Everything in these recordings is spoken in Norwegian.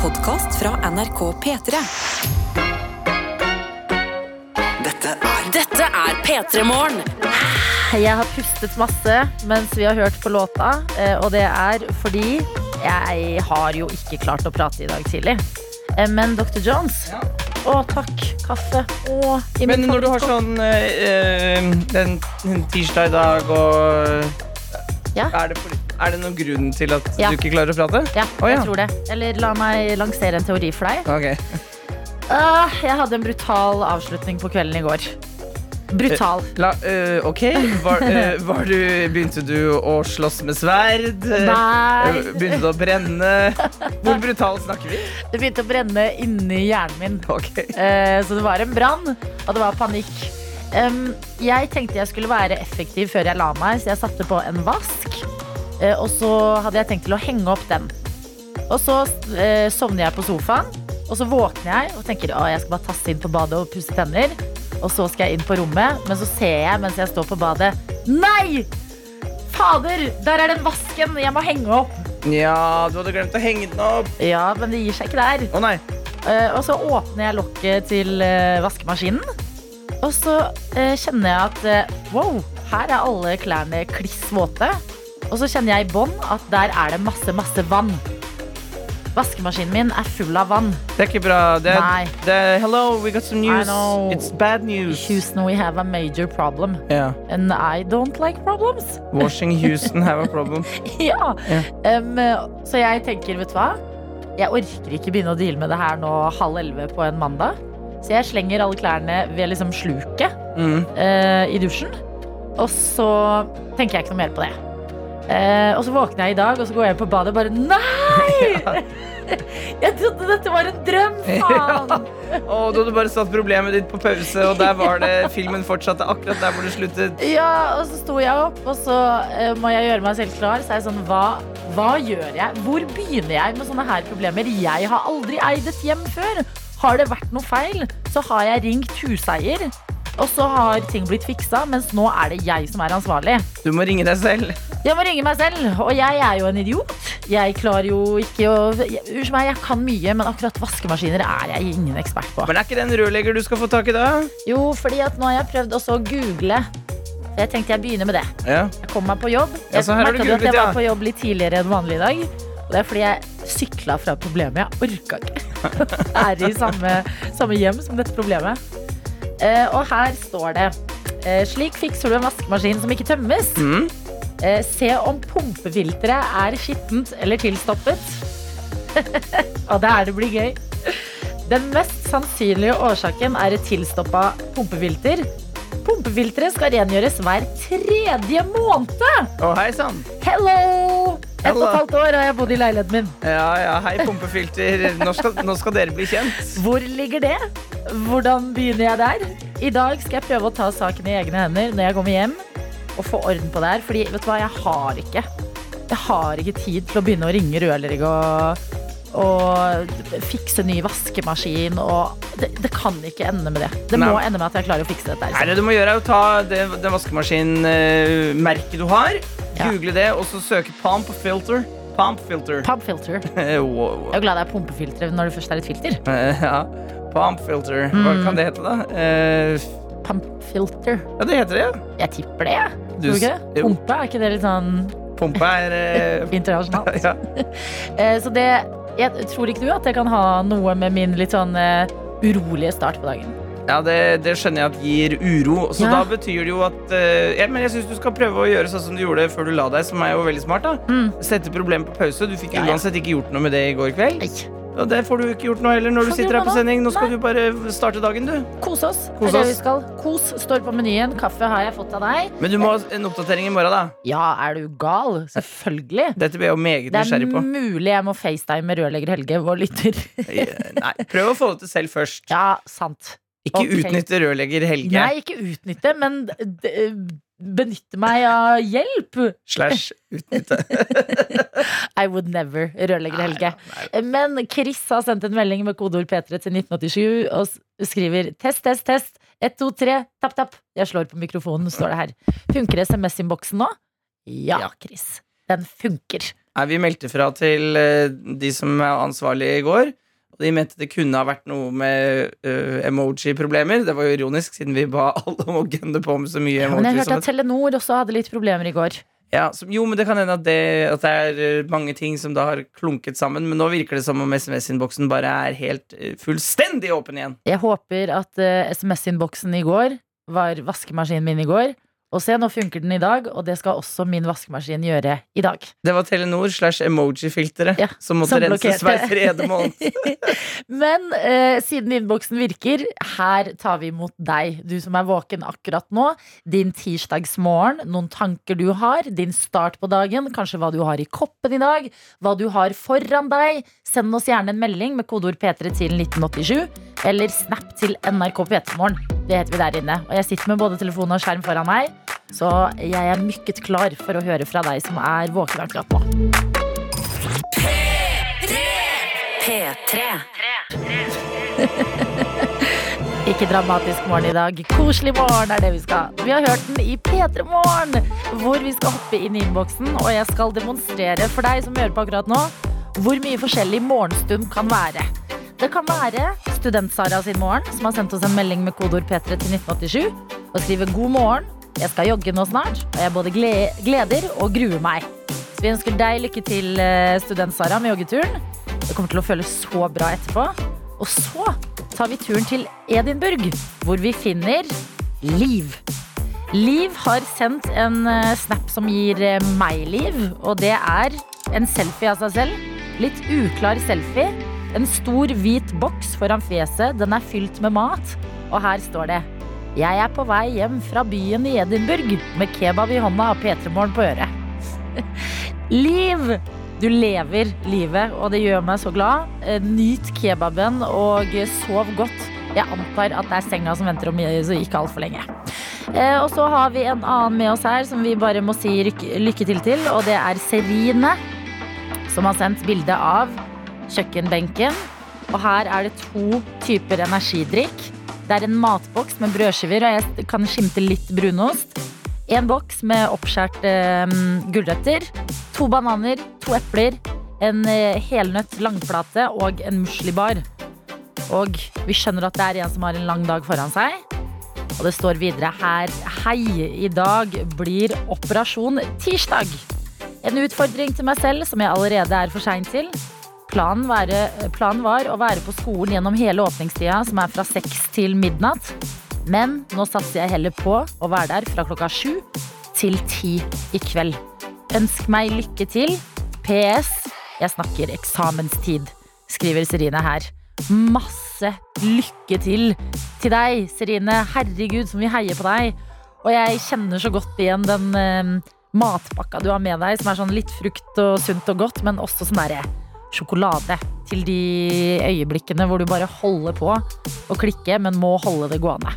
podkast fra NRK P3. Dette er Dette er P3 Morgen. Jeg har pustet masse mens vi har hørt på låta, eh, og det er fordi jeg har jo ikke klart å prate i dag tidlig. Eh, Men Dr. Jones Å, takk. Kaffe. Å, i Men mitt når du har favorittkopp. sånn eh, eh, Den en tirsdag i dag og Ja. er, det, for- er det noen grunn til at Ja. du ikke klarer å prate? Ja, Å, jeg ja. tror det. Eller la meg lansere en teori for deg. Ok. Ah, jeg hadde en brutal avslutning på kvelden i går. Brutal. La, eh, ok. Var, eh, var du, begynte du å slåss med sverd? Eh, Nei. Begynte du å brenne? Hvor brutalt snakker vi? Det begynte å brenne inni hjernen min. Ok. Eh, Så det var en brann, og det var panikk. Em, jeg tenkte jeg skulle være effektiv før jeg la meg, så jeg satte på en vask. eh, og så hadde jeg tenkt til å henge opp den. Og så eh, sovner jeg på sofaen, og så våkner jeg og tenker at jeg skal bare tasse inn på badet og pusse tenner. Og så skal jeg inn på rommet, men så ser jeg mens jeg står på badet Nei! Fader, der er den vasken! Jeg må henge opp. Ja, du hadde glemt å henge den opp. Ja, men det gir seg ikke der. Å nei. Eh, og så åpner jeg lokket til eh, vaskemaskinen. Og så eh, kjenner jeg at eh, wow, her er alle klærne kliss våte. Og så kjenner jeg i bånn at der er det masse, masse vann. Vaskemaskinen min er full av vann. Det er ikke bra. Det er, Nei. det er, hello, we got some news. know. It's bad news. Houston, we have a major problem. Ja. And I don't like problems. Washing Houston have a problem. ja. Ja. Em, så jeg tenker, vet du hva? Jeg orker ikke begynne å deale med det her nå halv elleve på en mandag. Så jeg slenger alle klærne ved liksom sluket. Mm. eh, i dusjen. Og så tenker jeg ikke noe mer på det. Eh, og så våkner jeg i dag, og så går jeg på badet og bare Nei! Jeg trodde dette var en drøm, faen! Og du hadde bare satt problemet ditt på pause, og der var det filmen fortsatte akkurat der hvor det sluttet. Ja, og så sto jeg opp, og så eh, må jeg gjøre meg selv klar. Så er jeg sånn, hva, hva gjør jeg? Hvor begynner jeg med sånne her problemer? Jeg har aldri eid et hjem før. Har det vært noe feil, så har jeg ringt huseier. Og så har ting blitt fiksa, mens nå er det jeg som er ansvarlig. Du må ringe deg selv. Jeg må ringe meg selv, og jeg er jo en idiot. Jeg klarer jo ikke å jeg- Unnskyld meg, jeg kan mye, men akkurat vaskemaskiner er jeg ingen ekspert på. Men er ikke det en rørlegger du skal få tak i da? Jo, fordi at nå har jeg prøvd også å google. Så Jeg tenkte jeg begynner med det. Ja. Jeg kom meg på jobb. Ja, Jeg så her har du merket at jeg googlet, ja. var på jobb litt tidligere enn vanlig i dag. Og det er fordi jeg sykla fra problemet. Jeg orka ikke å være i samme, samme hjem som dette problemet. Eh, og her står det eh, Slik fikser du en vaskemaskin som ikke tømmes. Mm. Eh, se om pumpefilteret er skittent eller tilstoppet. og det er det blir gøy. Den mest sannsynlige årsaken er et tilstoppa pumpefilter. Pumpefilteret skal rengjøres hver tredje måned! Å, hei sann. Hello! Ett og Hello. et halvt år har jeg bodd i leiligheten min. Ja, ja, hei, pumpefilter. Nå skal, nå skal dere bli kjent. Hvor ligger det? Hvordan begynner jeg der? I dag skal jeg prøve å ta saken i egne hender når jeg kommer hjem og få orden på det her. Fordi vet du hva, jeg har ikke Jeg har ikke tid til å begynne å ringe rørlegger og, og fikse ny vaskemaskin og det, det kan ikke ende med det. Det Nei. må ende med at jeg klarer å fikse dette. Nei, her. det du må gjøre, er å ta det, det maskemaskinmerket du har, Ja. google det, og så søke pump filter. Pump filter. Pump filter. Jeg Wow. er glad det er pumpefiltre når det først er et filter. Eh, Ja. Pump filter. Hva Mm. kan det hete, da? Eh, Pumpfilter. Ja, det heter det, ja. Jeg tipper det, jeg. Du Tror du ikke? s- det? jo. Pumpe, er ikke det litt sånn Pumpa er eh, internasjonalt? ja. Eh, Så det, jeg tror ikke du at jeg kan ha noe med min litt sånn eh, urolige start på dagen. ja, det, det skjønner jeg at gir uro. Så Ja. da betyr det jo at eh, ja, Men jeg syns du skal prøve å gjøre sånn som du gjorde før du la deg, som er jo veldig smart. da Mm. Sette problemet på pause. Du fikk Ja, ja. uansett ikke gjort noe med det i går kveld. Nei. Og det får du ikke gjort nå heller når Får du ikke sitter her gjort på noe. sending. Nå skal Nei. du bare starte dagen, du. Kose oss. Kose er det vi oss. skal. Kos står på menyen. Kaffe har jeg fått av deg. Men du må ha en oppdatering i morgen, da. Ja, er du gal? Selvfølgelig. Dette blir jeg jo meget Det er nysgjerrig på. mulig jeg må facetime med rørlegger Helge, vår lytter. Nei, prøv å få det til selv først. Ja, sant. Ikke ok. utnytte rørlegger Helge. Nei, ikke utnytte, men d- benytte meg av hjelp. Slash utnytte. I would never, rørlegger Helge. Men Chris har sendt en melding med kodeord P3 til 1987 og s- skriver test, test, test. 1, 2, 3, tapp, tapp. Jeg slår på mikrofonen, står det her. Funker SMS-innboksen nå? Ja, Chris. Den funker. Nei, vi meldte fra til eh, de som er ansvarlige i går. Og de mente det kunne ha vært noe med eh, emoji-problemer. Det var jo ironisk, siden vi ba alle om å gønne på med så mye Men jeg emoji. hørte som at Telenor også hadde litt problemer i går. Ja, som, jo, men det kan hende at det, at det er eh, mange ting som da har klunket sammen. Men nå virker det som om SMS-innboksen bare er helt eh, fullstendig åpen igjen. Jeg håper at eh, SMS-innboksen i går var vaskemaskinen min i går. Og se, nå funker den i dag, og det skal også min vaskemaskin gjøre i dag. Det var Telenor slash emoji-filteret Ja, som måtte som renses hver blokkerte. tredje måned. Men eh, siden innboksen virker, her tar vi imot deg. Du som er våken akkurat nå. Din tirsdagsmorgen, noen tanker du har, din start på dagen, kanskje hva du har i koppen i dag, hva du har foran deg. Send oss gjerne en melding med kodeord P3 til 1987, eller snap til NRK P3morgen. Det heter vi der inne. Og jeg sitter med både telefon og skjerm foran meg, så jeg er mykket klar for å høre fra deg som er våken akkurat nå. P3. Ikke dramatisk morgen i dag. Koselig morgen er det vi skal. Vi har hørt den i P3 Morgen, hvor vi skal hoppe inn i innboksen. Og jeg skal demonstrere for deg som hører på akkurat nå, hvor mye forskjellig morgenstund kan være. Det kan være Student-Sara sin morgen, som har sendt oss en melding med kodeord P3 til 1987 og skriver 'God morgen, jeg skal jogge nå snart', og jeg både gle- gleder og gruer meg. Så vi ønsker deg lykke til, eh, Student-Sara, med joggeturen. Det kommer til å føles så bra etterpå. Og så tar vi turen til Edinburgh, hvor vi finner Liv. Liv har sendt en eh, snap som gir eh, meg liv, og det er en selfie av seg selv. Litt uklar selfie. En stor hvit boks foran fjeset, den er fylt med mat. Og her står det Jeg er på vei hjem fra byen i Edinburgh med kebab i hånda og P3morgen på øret. Liv! Du lever livet, og det gjør meg så glad. Eh, Nyt kebaben og sov godt. Jeg antar at det er senga som venter om i- så ikke altfor lenge. Eh, Og så har vi en annen med oss her som vi bare må si ryk- lykke til til, og det er Serine. Som har sendt bilde av kjøkkenbenken. Og her er det to typer energidrikk. Det er en matboks med brødskiver, og jeg kan skimte litt brunost. En boks med oppskjært eh, gulrøtter. To bananer, to epler, en eh, helnøtt langplate og en muslibar. Og vi skjønner at det er en som har en lang dag foran seg. Og det står videre her Hei, i dag blir operasjon tirsdag. En utfordring til meg selv som jeg allerede er for sein til. Planen, være, planen var å være på skolen gjennom hele åpningstida, som er fra seks til midnatt. Men nå satser jeg heller på å være der fra klokka sju til ti i kveld. Ønsk meg lykke til. PS. Jeg snakker eksamenstid, skriver Serine her. Masse lykke til til deg, Serine. Herregud, som vi heier på deg. Og jeg kjenner så godt igjen den eh, matpakka du har med deg, som er sånn litt frukt og sunt og godt, men også sånn derre sjokolade. Til de øyeblikkene hvor du bare holder på å klikke, men må holde det gående.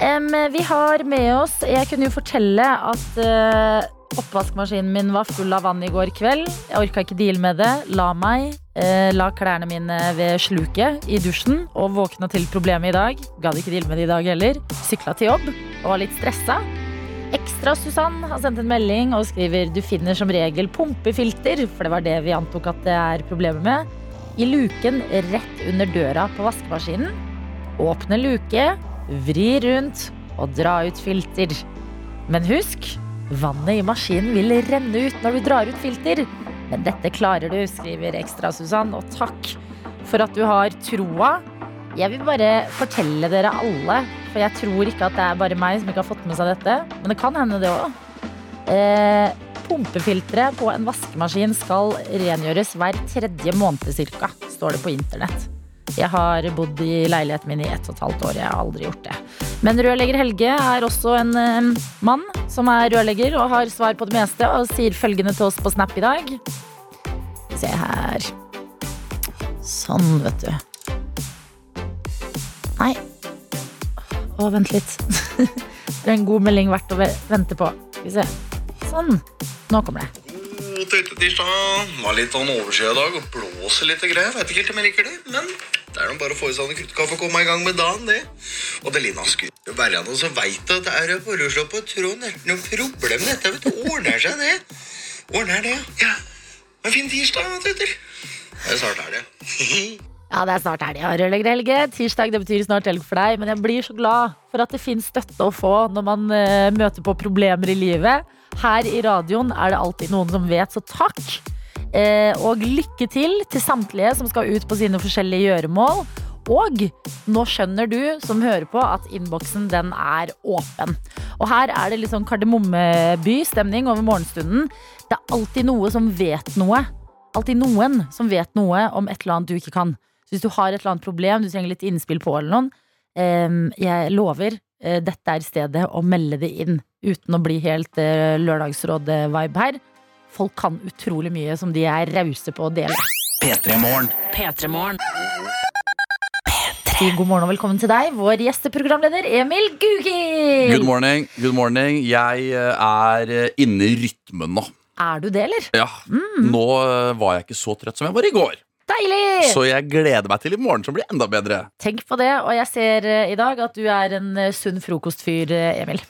Em, vi har med oss Jeg kunne jo fortelle at eh, oppvaskmaskinen min var full av vann i går kveld. Jeg orka ikke deale med det. La meg. eh, la klærne mine ved sluket i dusjen. Og våkna til problemet i dag. Gadd ikke deale med det i dag heller. Sykla til jobb og var litt stressa. Ekstra Susann har sendt en melding og skriver du finner som regel pumpefilter, for det var det vi antok at det er problemet med, i luken rett under døra på vaskemaskinen. Åpne luke, vri rundt og dra ut filter. Men husk, vannet i maskinen vil renne ut når du drar ut filter. Men dette klarer du, skriver Ekstra Susann, og takk for at du har troa. Jeg vil bare fortelle dere alle, for jeg tror ikke at det er bare meg som ikke har fått med seg dette, men det kan hende det òg. Eh, pumpefilteret på en vaskemaskin skal rengjøres hver tredje måned cirka, står det på internett. Jeg har bodd i leiligheten min i ett og et halvt år. Jeg har aldri gjort det. Men rørlegger Helge er også en eh, mann som er rørlegger og har svar på det meste, og sier følgende til oss på Snap i dag. Se her. Sånn, vet du. Nei. Å, vent litt. det er en god melding verdt å ve- vente på. Skal vi se. Sånn. Nå kommer det. God tøytetirsdag. Var litt sånn overskyet i dag og blåser litt og greier. Vet ikke helt om jeg liker det, men det er nå bare å få i seg noe kruttkaffe og komme i gang med dagen, det. Og det Lina skulle være noe som veit at det er å foreslå på Trond. Det er ikke noe problem, dette. vet du. Ordner seg, det. Ordner det, ja. Men fin tirsdag, Twitter. Det er snart helg. Ja, det er snart helg. ja, Røllegre-helge. Tirsdag det betyr snart helg for deg. Men jeg blir så glad for at det finnes støtte å få når man eh, møter på problemer i livet. Her i radioen er det alltid noen som vet, så takk. Eh, og lykke til til samtlige som skal ut på sine forskjellige gjøremål. Og nå skjønner du som hører på at innboksen den er åpen. Og her er det litt sånn kardemommeby-stemning over morgenstunden. Det er alltid noe som vet noe. Alltid noen som vet noe om et eller annet du ikke kan. Så hvis du har et eller annet problem du trenger litt innspill på, eller noen, em, jeg lover, eh, dette er stedet å melde det inn. Uten å bli helt eh, lørdagsråd-vibe her. Folk kan utrolig mye som de er rause på å dele. P3morgen. Si god morgen og velkommen til deg, vår gjesteprogramleder Emil Good Gugild. morning. good morning Jeg eh, er eh, inne i rytmen nå. Er du det, eller? Ja. Nå eh, var jeg ikke så trøtt som jeg var i går, Deilig! så jeg gleder meg til i morgen, som blir enda bedre. Tenk på det, og jeg ser eh, i dag at du er en eh, sunn frokostfyr, eh, Emil.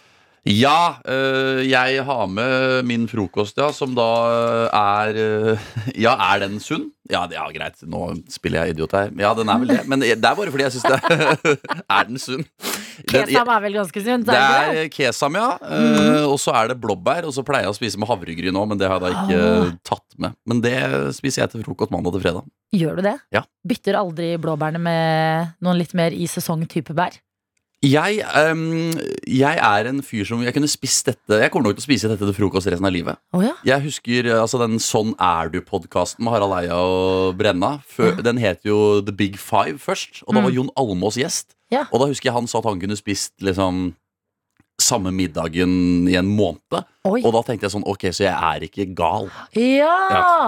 Ja, eh, jeg har med min frokost, ja, som da eh, er eh, Ja, er den sunn? Ja, det- ja, greit, nå spiller jeg idiot her. Ja, den er vel det, men det er bare fordi jeg syns det Er den sunn? Den- jeg- Kesam er vel ganske sunt? Det er det Mhm. ikke det? er kesam, ja. Eh, og så er det blåbær. Og så pleier jeg å spise med havregryn òg, men det har jeg da ikke Ah. eh, tatt med. Men det spiser jeg til frokost mandag til fredag. Gjør du det? Ja. Bytter aldri blåbærene med noen litt mer i sesong-type bær? Jeg, ehm, jeg er en fyr som Jeg kunne spist dette Jeg kommer nok til å spise dette til frokost resten av livet. Å ja. Jeg husker eh, altså, den Sånn er du-podkasten med Harald Eia og Brenna. Før, Den het jo The Big Five først, og da var Mm. Jon Almås gjest. Ja. Og da husker jeg han sa at han kunne spist liksom samme middagen i en måned. Oi. Og da tenkte jeg sånn, ok, så jeg er ikke gal. Ja!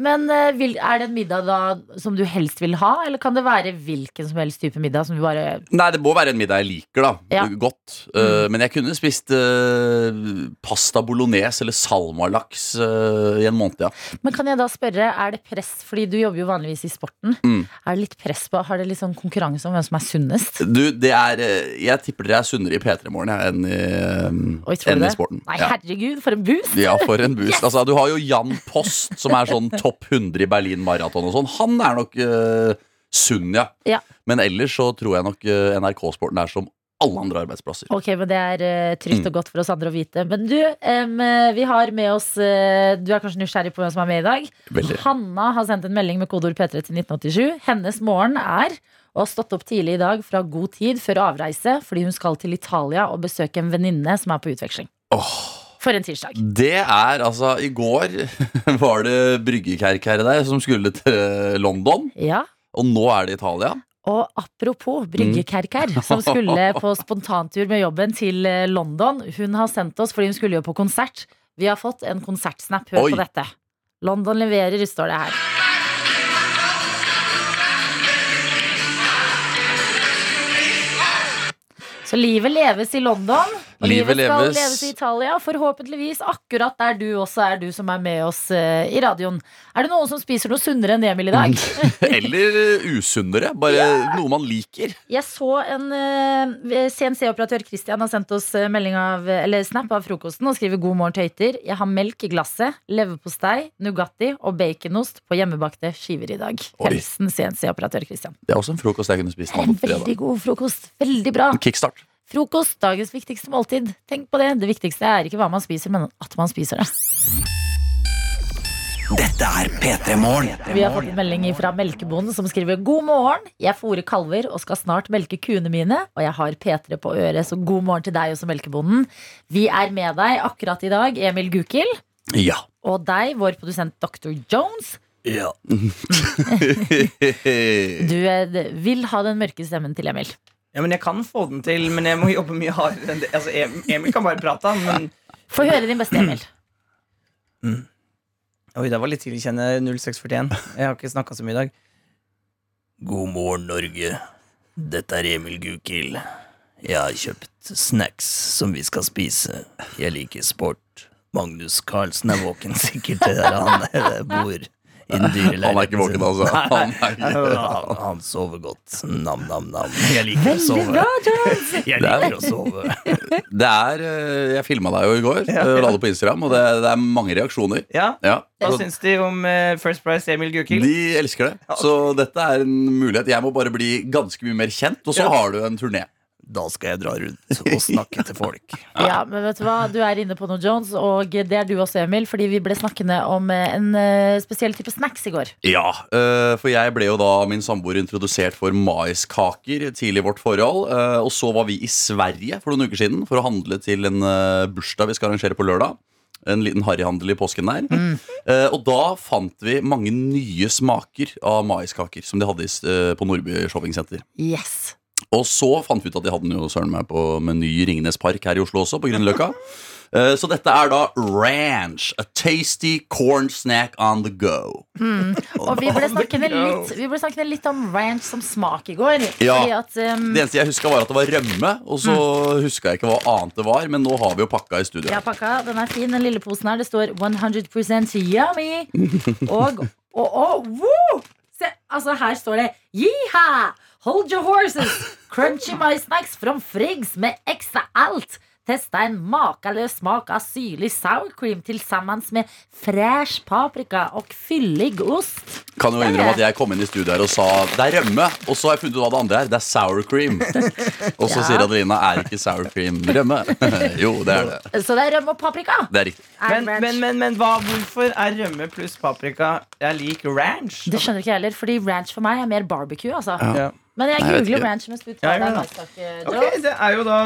Men eh, vil, er det en middag da som du helst vil ha, eller kan det være hvilken som helst type middag som du bare Nei, det må være en middag jeg liker, da. Ja. Mm. Godt. Eh, men jeg kunne spist eh, pasta bolognese eller salmalaks eh, i en måned, ja. Men kan jeg da spørre, er det press, fordi du jobber jo vanligvis i sporten. Mm. Er det litt press på, har det litt sånn konkurranse om hvem som er sunnest? Du, det er eh, Jeg tipper dere er sunnere i P3 Morgen ja, enn i, Oi, eh, tror du enn i det? sporten. Nei, ja. herregud, for en boost! ja, for en boost. Altså, du har jo Jan Post, som er sånn topp 100 i Berlin Maraton og sånn. Han er nok eh, sunn, ja. Ja. Men ellers så tror jeg nok eh, NRK-sporten er som alle andre arbeidsplasser. Ok, men det er eh, Mm. trygt og godt for oss andre å vite. Men du, em, eh, vi har med oss eh, Du er kanskje nysgjerrig på hvem som er med i dag? Veldig. Hanna har sendt en melding med kodeord P3 til 1987. Hennes morgen er å ha stått opp tidlig i dag fra god tid før avreise fordi hun skal til Italia og besøke en venninne som er på utveksling. For en tirsdag. Det er altså I går var det bryggekerk her i deg som skulle til London, Ja. og nå er det Italia. Og apropos bryggekerker, Mm. som skulle på spontantur med jobben til eh, London. Hun har sendt oss fordi hun skulle jo på konsert. Vi har fått en konsertsnap. Hør Oi. på dette. London leverer, står det her. Så livet leves i London, og livet, Livet skal leves. leves. i Italia. Forhåpentligvis akkurat der du også er, du som er med oss eh, i radioen. Er det noen som spiser noe sunnere enn Emil i dag? Eller usunnere. Bare noe man liker. Jeg så en eh, CNC-operatør Christian har sendt oss eh, melding av, eller snap av frokosten og skriver 'God morgen, tøyter'. Jeg har melk i glasset, leverpostei, Nugatti og baconost på hjemmebakte skiver i dag. Oi. Hilsen CNC-operatør Christian. Det er også en frokost jeg kunne spist En mandag til veldig fredag. god frokost. Veldig bra. Kickstart. Frokost, dagens viktigste måltid. Tenk på det. Det viktigste er ikke hva man spiser, men at man spiser det. Dette er P3 Morgen. Vi har fått en melding fra melkebonden som skriver God morgen, jeg fôrer kalver og skal snart melke kuene mine Og jeg har P3 på øret, så god morgen til deg også melkebonden Vi er med deg akkurat i dag, Emil Gukild Ja. Og deg, vår produsent Dr. Jones ja. Du eh, d- vil ha den mørke stemmen til Emil Ja, men Jeg kan få den til, men jeg må jobbe mye hardere. enn det. Altså, Em- Emil kan bare prate, han, men Få høre din beste Emil Oi, det var litt tilkjenne 0641. Jeg har ikke snakka så mye i dag. God morgen, Norge. Dette er Emil Gukild. Jeg har kjøpt snacks som vi skal spise. Jeg liker sport. Magnus Carlsen er våken sikkert der han eh, bor. I den dyre Han er ikke våken, altså. Han er ikke. Han, han sover godt. Nam, nam, nam. Jeg liker å Veldig sove. bra, Jones! Jeg liker å sove. Det er eh, Jeg filma deg jo i går, eh, la det på Instagram, og det, det er mange reaksjoner. Ja, Ja. Hva Så syns de om eh, First Price Emil Gukild? De elsker det. Så dette er en mulighet. Jeg må bare bli ganske mye mer kjent, og så har du en turné. Da skal jeg dra rundt og snakke til folk. Ja, men vet Du hva, du er inne på noe, Jones, og det er du også, Emil. Fordi vi ble snakkende om eh, en eh, spesiell type snacks i går. Ja, eh, for jeg ble jo da min samboer introdusert for maiskaker tidlig i vårt forhold. eh, Og så var vi i Sverige for noen uker siden for å handle til en eh, bursdag vi skal arrangere på lørdag. En liten harryhandel i påsken der. Eh, Og da fant vi mange nye smaker av maiskaker som de hadde i s- eh, på Nordby shoppingsenter. Yes! Og så fant vi ut at de hadde den jo søren meg på Meny i Ringnes Park her i Oslo også, på Grünerløkka. Eh, Så dette er da ranch, a tasty corn snack on the go. Og vi ble snakkende litt, vi ble snakkende litt om ranch som smak i går. Ja. Fordi at um, Det eneste jeg huska, var at det var rømme, og så Mm. husket huska jeg ikke hva annet det var, men nå har vi jo pakka i studio. jeg har pakka, den er fin, den lille posen her. Det står 100 yummy. Og, og, og woo! Se, altså her står det Yeeha! Hold your horses! Crunchy my snacks from Friggs med ekstra alt. Testa en makeløs smak av syrlig sour cream til sammen med fresh paprika og fyllig ost. Kan jo innrømme at jeg kom inn i studio her og sa det er rømme, og så har jeg funnet ut hva det andre er. Det er sour cream. Og så Ja. sier Adelina er ikke sour cream rømme. Jo, det er det. Så det er rømme og paprika. Det er riktig. Er Men, ranch. men, men, men hva, hvorfor er rømme pluss paprika Jeg liker ranch? Det skjønner ikke jeg heller, fordi ranch for meg er mer barbecue. Altså. Ja. Men jeg Nei, jeg vet googler ikke. ranch mens du Ja, tar jeg gjør deg en det. matpakke, Ok, eh, Joe. Det er jo da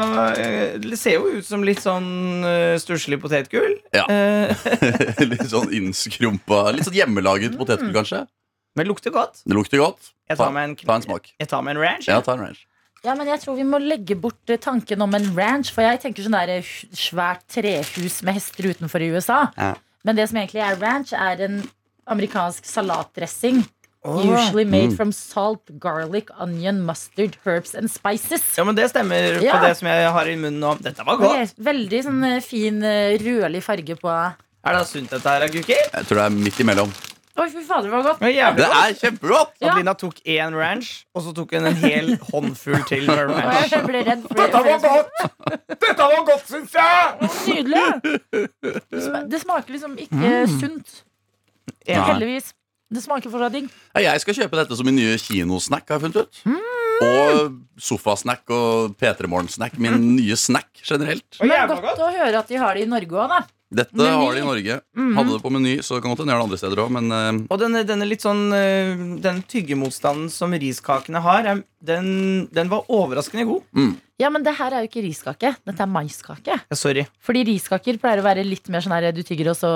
eh, Det ser jo ut som litt sånn eh, stusslig potetgull. Ja. Eh, Litt sånn innskrumpa, litt sånn hjemmelaget potetgull, kanskje. men lukter godt. Det lukter godt. Mm. Jeg Ta, tar meg en, ta en smak. Jeg tar meg en ranch. Ja, ta en ranch. Ja, men jeg tror vi må legge bort eh, tanken om en ranch, for jeg tenker sånn der eh, h- svært trehus med hester utenfor i USA. Ja. Men det som egentlig er ranch, er en amerikansk salatdressing. Usually made from salt, garlic, onion, mustard, herbs and spices. Ja, men det stemmer Ja. på det som jeg har i munnen nå. Dette var Det godt. er Veldig sånn eh, fin eh, rødlig farge på Oi, Er det sunt dette her, Guki? Jeg tror det er midt imellom. fy fader, det var godt. Det var jævlig Det godt. er kjempegodt! Ja. Adelina tok én ranch, og så tok hun en hel håndfull til med ranch. Jeg ble redd. For, Dette var godt! Dette var godt, syns jeg! Nydelig! Det sma- Det smaker liksom ikke sunt. Heldigvis. Det smaker fortsatt digg. Ja, Jeg skal kjøpe dette som min nye kinosnack, har jeg funnet ut. Og sofasnack og P3 Morgen-snack. Min nye snack generelt. Det var Men jævla godt å høre at de har det i Norge òg, da. Dette Meny. har de i Norge. Hadde det på Meny, så det kan godt hende de har det andre steder òg, men eh, Og denne, denne litt sånn øh, Den tyggemotstanden som riskakene har, er- den, den var overraskende god. Ja, men det her er jo ikke riskake. Dette er maiskake. Ja, sorry. Fordi riskaker pleier å være litt mer sånn her du tygger, og så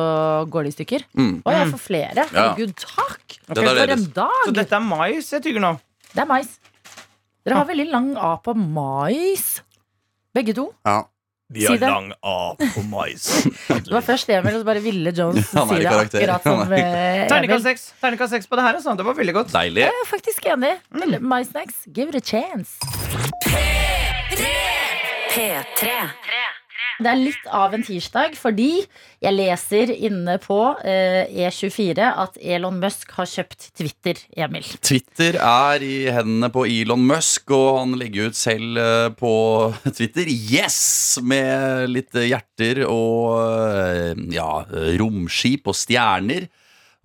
går de i stykker. Mm. Og jeg får flere. Ja. Herregud, takk! Dette er For en deres. Så dag! dette er mais jeg tygger nå. Det er mais. Dere har Ah. veldig lang A på mais. Begge to. ja. Vi har lang A på mais. det var først Emil, og så bare ville Jones si Han er i det karakter. akkurat som Han er i eh, Emil. Terningkast seks Terningkast seks på det her. Altså. Det var veldig godt. Deilig. Jeg er faktisk enig. Mm. My snacks, give it a chance. P3. Det er litt av en tirsdag, fordi jeg leser inne på eh, E24 at Elon Musk har kjøpt Twitter, Emil. Twitter er i hendene på Elon Musk, og han legger ut selv eh, på Twitter 'yes!' med litt eh, hjerter og eh, ja, eh, romskip og stjerner.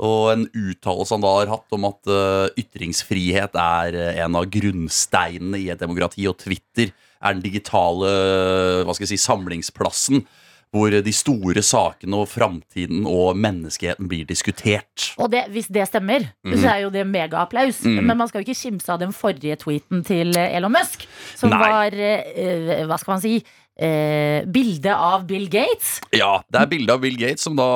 Og en uttalelse han da har hatt om at eh, ytringsfrihet er eh, en av grunnsteinene i et demokrati, og Twitter er den digitale eh, hva skal jeg si, samlingsplassen hvor de store sakene og framtiden og menneskeheten blir diskutert. Og det, hvis det stemmer, så er jo det megaapplaus. Men man skal jo ikke kimse av den forrige tweeten til eh, Elon Musk, som Nei. var eh, eh, Hva skal man si? Eh, bilde av Bill Gates. Ja, det er bilde av Bill Gates som da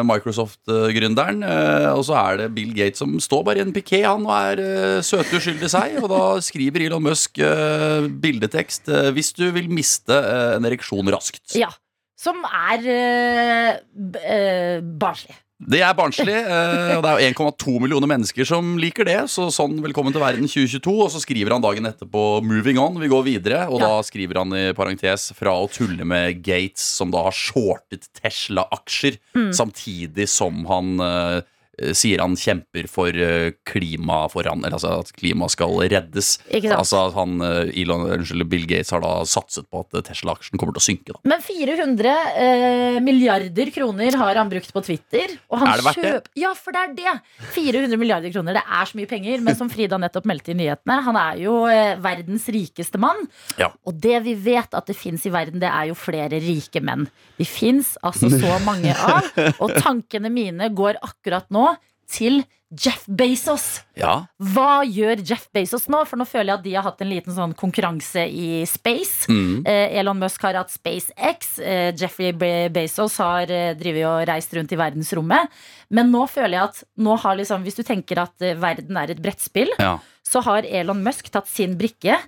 eh, Microsoft-gründeren. eh, Og så er det Bill Gates som står bare i en piké, han, og er eh, søte uskyldig seg. Og da skriver Elon Musk eh, bildetekst eh, 'Hvis du vil miste eh, en ereksjon raskt'. Ja. Som er eh, b- eh, barnslig. Det er barnslig, eh, og det er jo 1,2 millioner mennesker som liker det. Så sånn 'Velkommen til verden 2022'. Og så skriver han dagen etterpå 'Moving on', vi går videre. Og da skriver han i parentes 'fra å tulle med Mm. Gates', som da har shortet Tesla-aksjer, samtidig som han eh, eh, sier han kjemper for eh, klima foran, eller altså at klima skal reddes. Ikke sant? Altså at han, eh, Elon, unnskyld, Bill Gates har da satset på at eh, Tesla-aksjen kommer til å synke. da Men 400 eh, milliarder kroner har han brukt på Twitter. Og han Er det verdt det? kjøp- Ja, for det er det! 400 milliarder kroner, det er så mye penger. Men som Frida nettopp meldte i nyhetene, han er jo eh, verdens rikeste mann. Ja. Og det vi vet at det fins i verden, det er jo flere rike menn. De fins altså så mange av. Og tankene mine går akkurat nå til Jeff Bezos. Ja, Hva gjør Jeff Bezos nå? For nå føler jeg at de har hatt en liten sånn konkurranse i space. Eh, Elon Musk har hatt SpaceX. Eh, Jeffrey Be Bezos har eh, drivet og reist rundt i verdensrommet. Men nå føler jeg at nå har liksom, hvis du tenker at eh, verden er et brettspill, ja. så har Elon Musk tatt sin brikke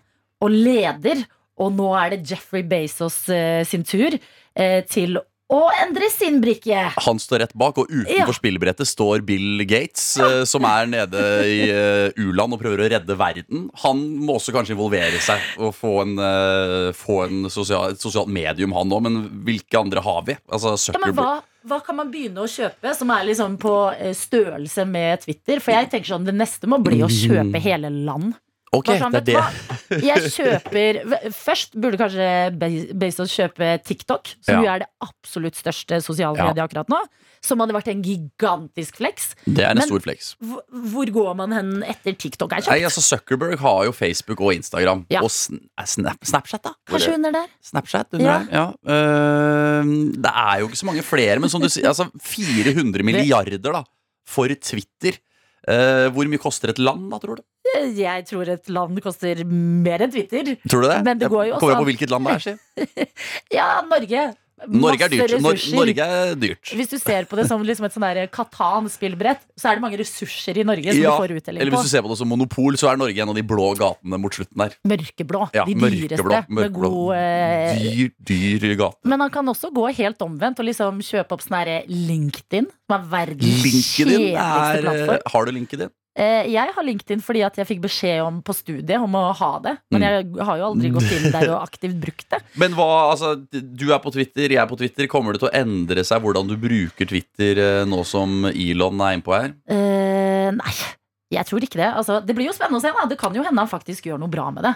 og leder. Og nå er det Jeffrey Bezos eh, sin tur eh, til å endre sin brikke. Han står rett bak, og utenfor Ja. spillebrettet står Bill Gates, eh, som er nede i eh, u-land og prøver å redde verden. Han må også kanskje involvere seg og få, en, eh, få en sosial, et sosialt medium, han òg. Men hvilke andre har vi? Altså Ja, men Zuckerberg. hva, hva kan man begynne å kjøpe som er liksom på eh, størrelse med Twitter? For jeg tenker sånn, det neste må bli å kjøpe hele land. Mm. Ok, Bare sånn, det er det. vet du hva? Jeg kjøper v- Først burde kanskje Be- Bezos kjøpe TikTok, som Ja. jo er det absolutt største sosiale Ja. mediet akkurat nå. Som hadde vært en gigantisk flex. Det er en Men- stor flex. Hvor, hvor går man hen etter TikTok er Nei, kjøpt? altså Zuckerberg har jo Facebook og Instagram. Ja. Og sn eh, snap Snapchat, da. Hvor Kanskje det- under der? Snapchat under Ja. der. Ja. Ehm, det er jo ikke så mange flere, men som du sier, altså 400 milliarder da for Twitter. Eh, hvor mye koster et land, da, tror du? Eh, Jeg tror et land koster mer enn Twitter. Tror du det? Men det går jo Jeg Kommer også an på hvilket land det er, si. Ja, Norge. Norge Masse er dyrt. Nor ressurser. Norge er dyrt. Hvis du ser på det som liksom et sånn der Katan-spillbrett, så er det mange ressurser i Norge som Ja, du får uttelling Eller på. hvis du ser på det som monopol, så er Norge en av de blå gatene mot slutten der. Mørkeblå. Ja, de dyreste. mørkeblå. med mørkeblå. god, eh, Dyr, dyr gate. men han kan også gå helt omvendt og liksom kjøpe opp sånn herre LinkedIn, som er verdens LinkedIn kjedeligste er eh, plattform. Har du LinkedIn? Eh, Jeg har LinkedIn fordi at jeg fikk beskjed om på studiet om å ha det. Men Mm. jeg har jo aldri gått inn der og aktivt brukt det. Men hva, altså, du er på Twitter, jeg er på Twitter. Kommer det til å endre seg hvordan du bruker Twitter eh, nå som Elon er innpå her? Eh, nei, jeg tror ikke det. Altså, det blir jo spennende å se. Da. Det kan jo hende han faktisk gjør noe bra med det.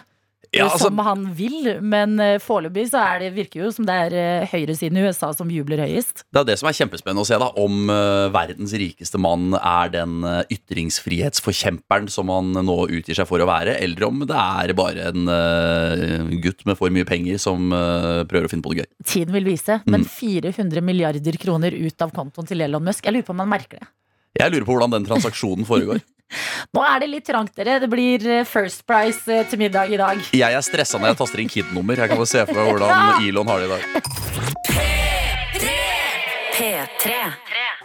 Ja, altså- som han vil, men eh, foreløpig så er det, virker jo som det er eh, høyresiden i USA som jubler høyest. Det er det som er kjempespennende å se, da. Om eh, verdens rikeste mann er den eh, ytringsfrihetsforkjemperen som han nå utgir seg for å være, eller om det er bare en eh, gutt med for mye penger som eh, prøver å finne på det gøy. Tiden vil vise. Mm. Men 400 milliarder kroner ut av kontoen til Elon Musk, jeg lurer på om han merker det. Jeg lurer på hvordan den transaksjonen foregår. Nå er det litt trangt, dere. Det blir eh, First Price eh, til middag i dag. Jeg er stressa når jeg taster inn KID-nummer. Jeg kan bare se for meg hvordan Elon har det i dag. P3.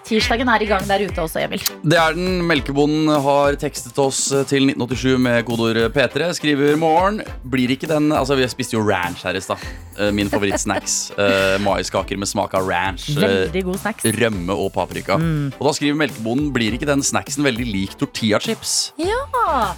Tirsdagen er i gang der ute også, Emil. Det er den. Melkebonden har tekstet oss eh, til 1987 med kodeord P3. Skriver morgen. Blir ikke den Altså, vi spiste jo ranch her i stad. Eh, Min favorittsnacks. Eh, Maiskaker med smak av ranch. Eh, Veldig Mm. god snacks. Rømme og paprika. Og da skriver melkebonden Blir ikke den snacksen veldig lik tortillachips? Ja,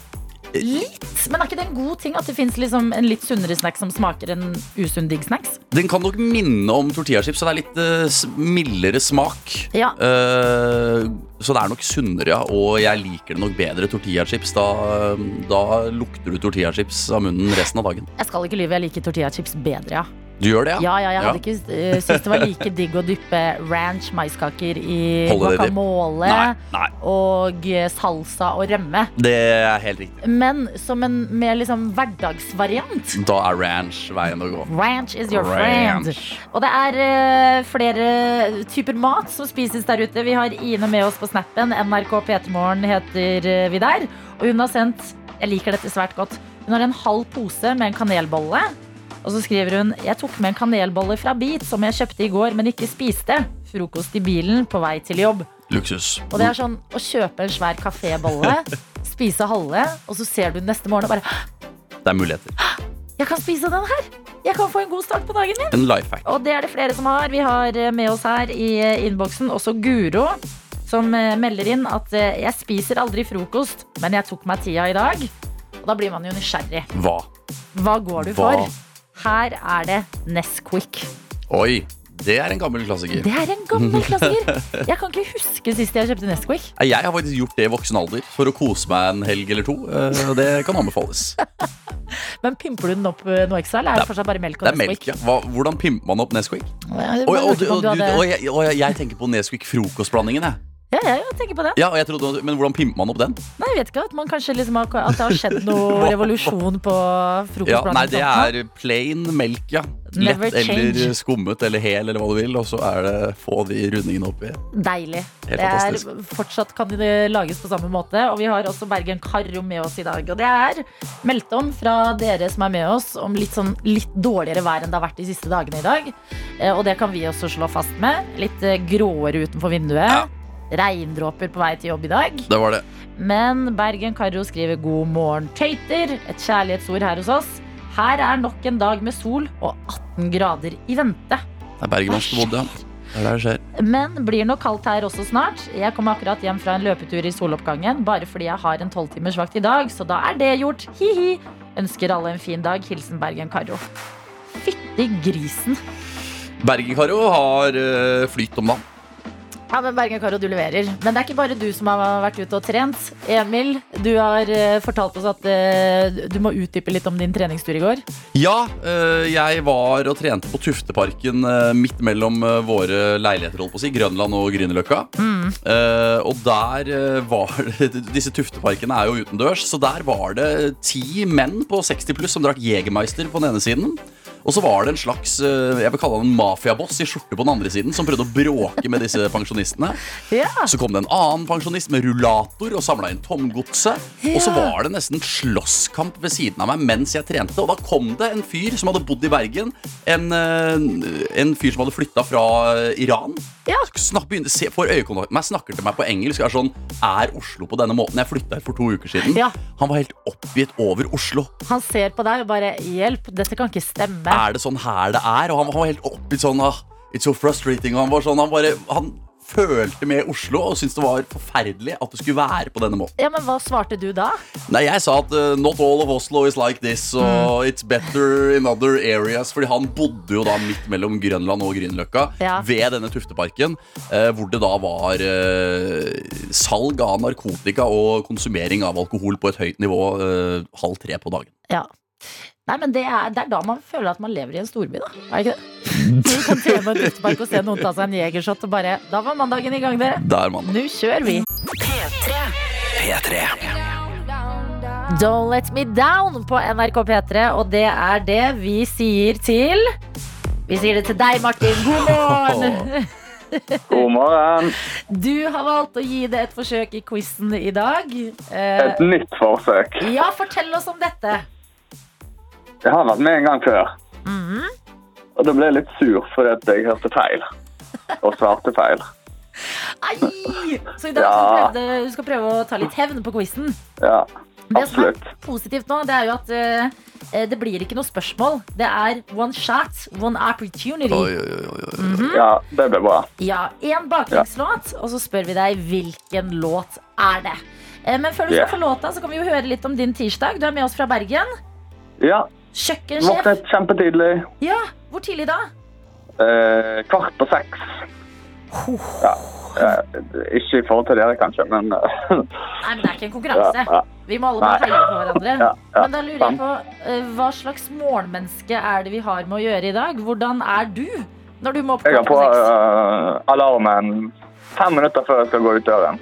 litt. Men er ikke det en god ting at det fins liksom en litt sunnere snack som smaker enn usunn digg snacks? Den kan nok minne om tortillachips, så det er litt eh, s- mildere smak. Ja. Eh, så det er nok sunnere, ja. Og jeg liker det nok bedre tortillachips. Da, eh, da lukter du tortillachips av munnen resten av dagen. Jeg skal ikke lyve, jeg liker tortillachips bedre, ja. Du gjør det, ja? Ja, ja, jeg hadde ikke eh, syntes det var like digg å dyppe ranch maiskaker i Holder det dip. guacamole Nei, nei. og eh, salsa og rømme. Det er helt riktig. Men som en mer liksom hverdagsvariant. Da er ranch veien å gå. Ranch is your friend. Ranch. Og det er eh, flere typer mat som spises der ute. Vi har Ine med oss på snappen. NRK P3morgen heter eh, vi der. Og hun har sendt Jeg liker dette svært godt. Hun har en halv pose med en kanelbolle. Og så skriver hun Jeg tok med en kanelbolle fra Beat som jeg kjøpte i går, men ikke spiste. Frokost i bilen på vei til jobb. Luksus. Og det er sånn å kjøpe en svær kafébolle, spise halve, og så ser du neste morgen og bare «Hå, Det er muligheter. Jeg kan spise den her! Jeg kan få en god start på dagen min! En life hack. Og det er det flere som har. Vi har eh, med oss her i eh, innboksen også Guro, som eh, melder inn at eh, jeg spiser aldri frokost, men jeg tok meg tida i dag. Og da blir man jo nysgjerrig. Hva? Hva går du Hva? for? Her er det Nesquik. Oi. Det er en gammel klassiker. Det er en gammel klassiker. Jeg kan ikke huske sist jeg kjøpte Nesquik. Nei, Jeg har faktisk gjort det i voksen alder for å kose meg en helg eller to. eh, Og det kan anbefales. Men pimper du den opp eh, noe ekstra, eller er det fortsatt bare melk og Det er melk, Nesquik? ja. Hva, hvordan pimper man opp Nesquik? Ja, jeg Og, bare og, lurte på om og, du du- hadde- og, jeg, og jeg- jeg tenker på Nesquik frokostblandingen, jeg. Ja, ja, ja, tenker på det. Ja, og jeg trodde, men hvordan pimper man opp den? Nei, jeg vet ikke at, man kanskje liksom har, at det har skjedd noe revolusjon på Ja, frokostblanding. nei, det er plain melk, ja. sånn. Never Lett eller change. skummet eller hel eller hva du vil, og så er det få de rundingene oppi. Deilig. Helt det er, fantastisk. fortsatt kan det lages på samme måte. Og vi har også Bergen Karro med oss i dag. Og det er meldt om fra dere som er med oss, om litt, sånn, litt dårligere vær enn det har vært de siste dagene i dag. Eh, Og det kan vi også slå fast med. Litt eh, gråere utenfor vinduet. Ja. Regndråper på vei til jobb i dag. Det var det. Men Bergen Karro skriver 'God morgen, tøyter'. Et kjærlighetsord her hos oss. Her er nok en dag med sol og 18 grader i vente. Det er Bergen som bodde, ja. Det er der det skjer. Men blir nok kaldt her også snart. Jeg kom akkurat hjem fra en løpetur i soloppgangen, bare fordi jeg har en tolvtimersvakt i dag, så da er det gjort. Hi-hi. Ønsker alle en fin dag. Hilsen Bergen Karo. Fytti grisen. Bergen-Karo har eh, flyt om dagen. Ja, men Bergen Karo, du leverer. Men det er ikke bare du som har vært ute og trent. Emil, du har eh, fortalt oss at eh, du må utdype litt om din treningstur i går. Ja, eh, jeg var og trente på Tufteparken eh, midt mellom eh, våre leiligheter, holdt på å si, Grønland og Grünerløkka. Eh, og der eh, var det Disse Tufteparkene er jo utendørs, så der var det eh, ti menn på 60 pluss som drakk Jegermeister på den ene siden. Og så var det en slags eh, jeg vil kalle han en mafiaboss i skjorte på den andre siden som prøvde å bråke med disse pensjonistene. Ja. Så kom det en annen pensjonist med rullator og samla inn tomgodset. Og så var det nesten slåsskamp ved siden av meg mens jeg trente. Og da kom det en fyr som hadde bodd i Bergen. En, eh, en fyr som hadde flytta fra eh, Iran. Ja. Snakk, begynte, se, får øyekontakt med meg, snakker til meg på engelsk. Er sånn Er Oslo på denne måten? Jeg flytta her for to uker siden. Ja. Han var helt oppgitt over Oslo. Han ser på deg og bare 'hjelp, dette kan ikke stemme'. Er det sånn her det er? Og han, han var helt oppgitt sånn ah, It's so frustrating. Og han var sånn Han bare Han følte med Oslo og syntes det var forferdelig at det skulle være på denne måten. Ja, Men hva svarte du da? Nei, jeg sa at eh, not all of Oslo is like this, og Mm. it's better in other areas. Fordi han bodde jo da midt mellom Grønland og Grünerløkka, Ja. ved denne Tufteparken, eh, hvor det da var eh, salg av narkotika og konsumering av alkohol på et høyt nivå eh, halv tre på dagen. Ja. Nei, men det er, det er da man føler at man lever i en storby, da. Er det ikke det? Du kan se på en utepark og se noen ta seg en jegershot og bare Da var mandagen i gang, dere. Der, mann. Nå kjører vi. P3. Don't Let Me Down på NRK P3, og det er det vi sier til Vi sier det til deg, Martin. God morgen! God morgen. Du har valgt å gi det et forsøk i quizen i dag. Eh, Et nytt forsøk. ja, fortell oss om dette. Jeg har vært med en gang før. Og da ble jeg litt sur fordi at jeg hørte feil. Og svarte feil. Ai! Så i dag Ja. skal du, prøve, du skal prøve å ta litt hevn på quizen. Ja, Det som er absolutt. positivt nå, det er jo at eh, det blir ikke noe spørsmål. Det er one shot, one opportunity. Oi, oi, oi, oi, oi. Ja, det ble bra. Ja, Én bakgrunnslåt, og så spør vi deg hvilken låt er det. Eh, Men før du skal Yeah. få låta, så kan vi jo høre litt om din tirsdag. Du er med oss fra Bergen. Ja, Kjøkkensjef. våknet kjempetidlig. Ja, Hvor tidlig da? Eh, kvart på seks. Ja. eh, ikke i forhold til dere, kanskje, men eh, Nei, men Det er ikke en ja, konkurranse. ja. Vi må alle bare Nei. heie på hverandre. Ja, ja, Men da lurer jeg sant. på eh, hva slags morgenmenneske er det vi har med å gjøre i dag? Hvordan er du når du må opp Jeg har klokka på seks? eh, alarmen fem minutter før jeg skal gå ut døren.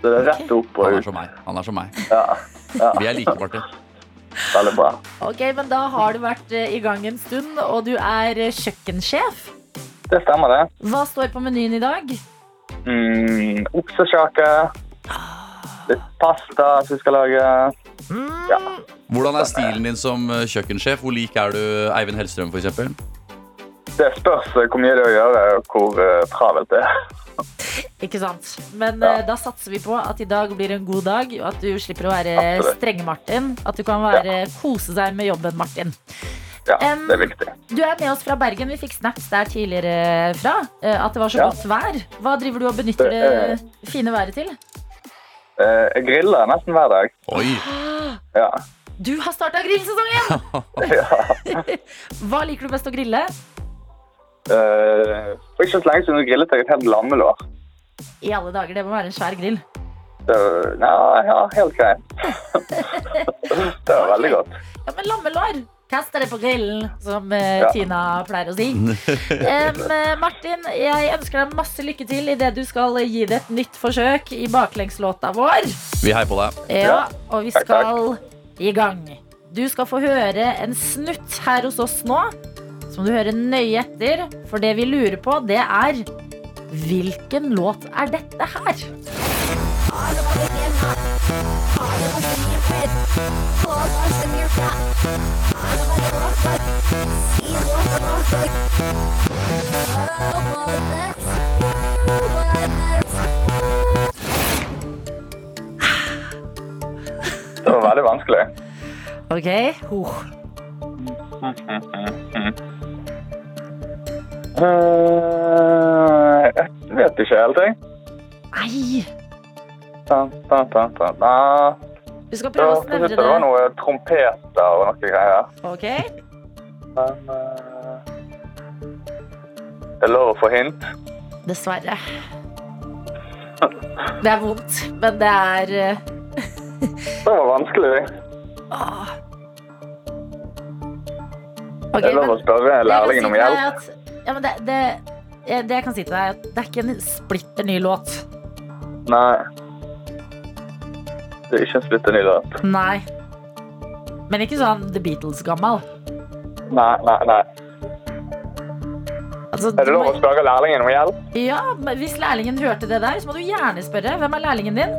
Så det er rett opp og Han er ut. som meg. Han er som meg. Ja, ja. Vi er like, Martin. Veldig bra. Ok, men Da har du vært eh, i gang en stund, og du er eh, kjøkkensjef. Det stemmer, det. Hva står på menyen i dag? Mm, oksekjake. Litt pasta som vi skal lage. Ja. Hvordan er stilen din som eh, kjøkkensjef? Hvor lik er du Eivind Hellstrøm, for eksempel? Det spørs eh, hvor mye det er å gjøre, og hvor eh, travelt det er. Ikke sant? Men Ja. eh, da satser vi på at i dag blir en god dag, og at du slipper å være Absolutt. strenge-Martin. At du kan være, kose deg med jobben, Martin. Ja, Em, det er viktig. Du er med oss fra Bergen. Vi fikk snaps der tidligere fra. eh, At det var så Ja. godt vær. Hva driver du og benytter Det er- det fine været til? Eh, Jeg griller nesten hver dag. Oi! Ja. Ah, Du har starta grillsesongen! Hva liker du best å grille? Eh, for ikke så lenge siden grillet jeg et helt lammelår. I alle dager, det må være en svær grill. Det var, ja, ja, helt greit. det var veldig godt. Ja, men lammelår! Kast dere på grillen, som eh, Ja. Tina pleier å si. Em, eh, Martin, jeg ønsker deg masse lykke til i det du skal eh, gi det et nytt forsøk i baklengslåta vår. Vi heier på deg. Ja, Ja. og vi Takk, takk. skal i gang. Du skal få høre en snutt her hos oss nå, som du hører nøye etter. For det vi lurer på, det er hvilken låt er dette her? Det var veldig vanskelig. Ok, oh, Eh, jeg vet ikke helt, jeg. Nei! Da, da, da, da, da. Du skal Det prøve var, å jeg synes snevre det var det. noe trompeter og noe greier. Ok, Men eh, Det er lov å få hint. Dessverre. Det er vondt, men det er eh, Det var vanskelig. ah. ok, Det er lov å men- spørre Det jeg kan lærlingen om si til deg hjelp. at- Ja, men det, det, eh, det jeg kan si til deg, er at det er ikke en splitter ny låt. Nei. Det er ikke en splitter ny låt. Nei. Men ikke sånn The Beatles-gammal. Nei, nei, nei. Altså, Er det du lov må- å spørre lærlingen om hjelp? ja, men hvis lærlingen hørte det der, så må du gjerne spørre. Hvem er lærlingen din?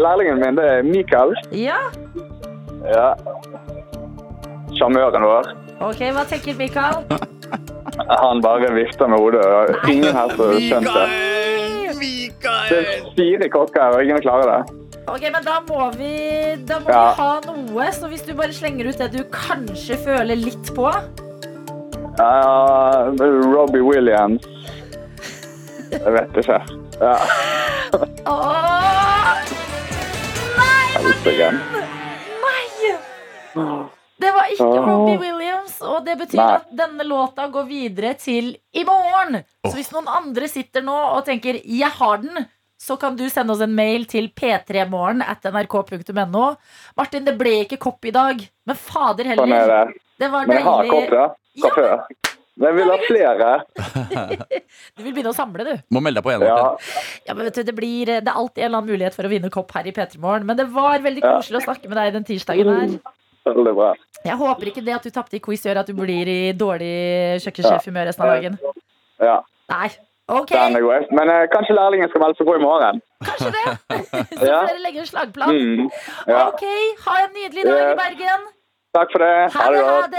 Lærlingen min, det er Mikael. Ja, Ja. Sjarmøren vår. ok, hva tenker Mikael? Han bare vifter med hodet. og Ingen her som skjønte det. Det er fire kokker, og ingen klarer det. Ok, men da må vi, da må Ja. vi ha noe, så hvis du bare slenger ut det du kanskje føler litt på Ja, Robbie Williams. Jeg vet ikke. Ja, Åh! helsike. Nei! Det var ikke Åh. Robbie Williams, og det betyr Nei. at denne låta går videre til i morgen. Så hvis noen andre sitter nå og tenker 'jeg har den', så kan du sende oss en mail til p3morgen at nrk.no. Martin, det ble ikke kopp i dag, men fader Sånn er heller. det. Det var Men jeg har kopp, deilig. da. Fra Ja, før. Men jeg vil ha flere. Du vil begynne å samle, du. Må melde deg på igjen. Ja, Martin. Ja, men vet du, det, blir, eh, det er alltid en eller annen mulighet for å vinne kopp her i P3morgen. Men det var veldig Ja. koselig å snakke med deg den tirsdagen her. veldig bra. Jeg håper ikke det at du tapte i quiz gjør at du blir i dårlig kjøkkensjefhumør resten av dagen. Ja, Nei. Ok, den er god. Men eh, kanskje lærlingen skal melde seg på i morgen. kanskje det. Så Ja. får dere legge en slagplan. Mm. Ja. Ok, ha en nydelig dag i Yes. Bergen. Takk for det. Ha Ha det det, ha godt. det.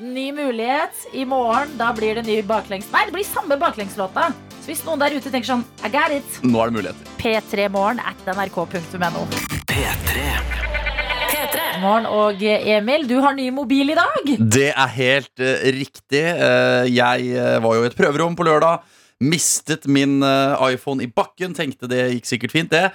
Ny mulighet i morgen. Da blir det ny baklengs... Nei, det blir samme baklengslåta. Så hvis noen der ute tenker sånn I got it. Nå er det muligheter. P3morgen at nrk.no. Morgen og eh, Emil, du har ny mobil i dag. Det er helt eh, riktig. Eh, jeg eh, var jo i et prøverom på lørdag. Mistet min eh, iPhone i bakken. Tenkte det gikk sikkert fint, det.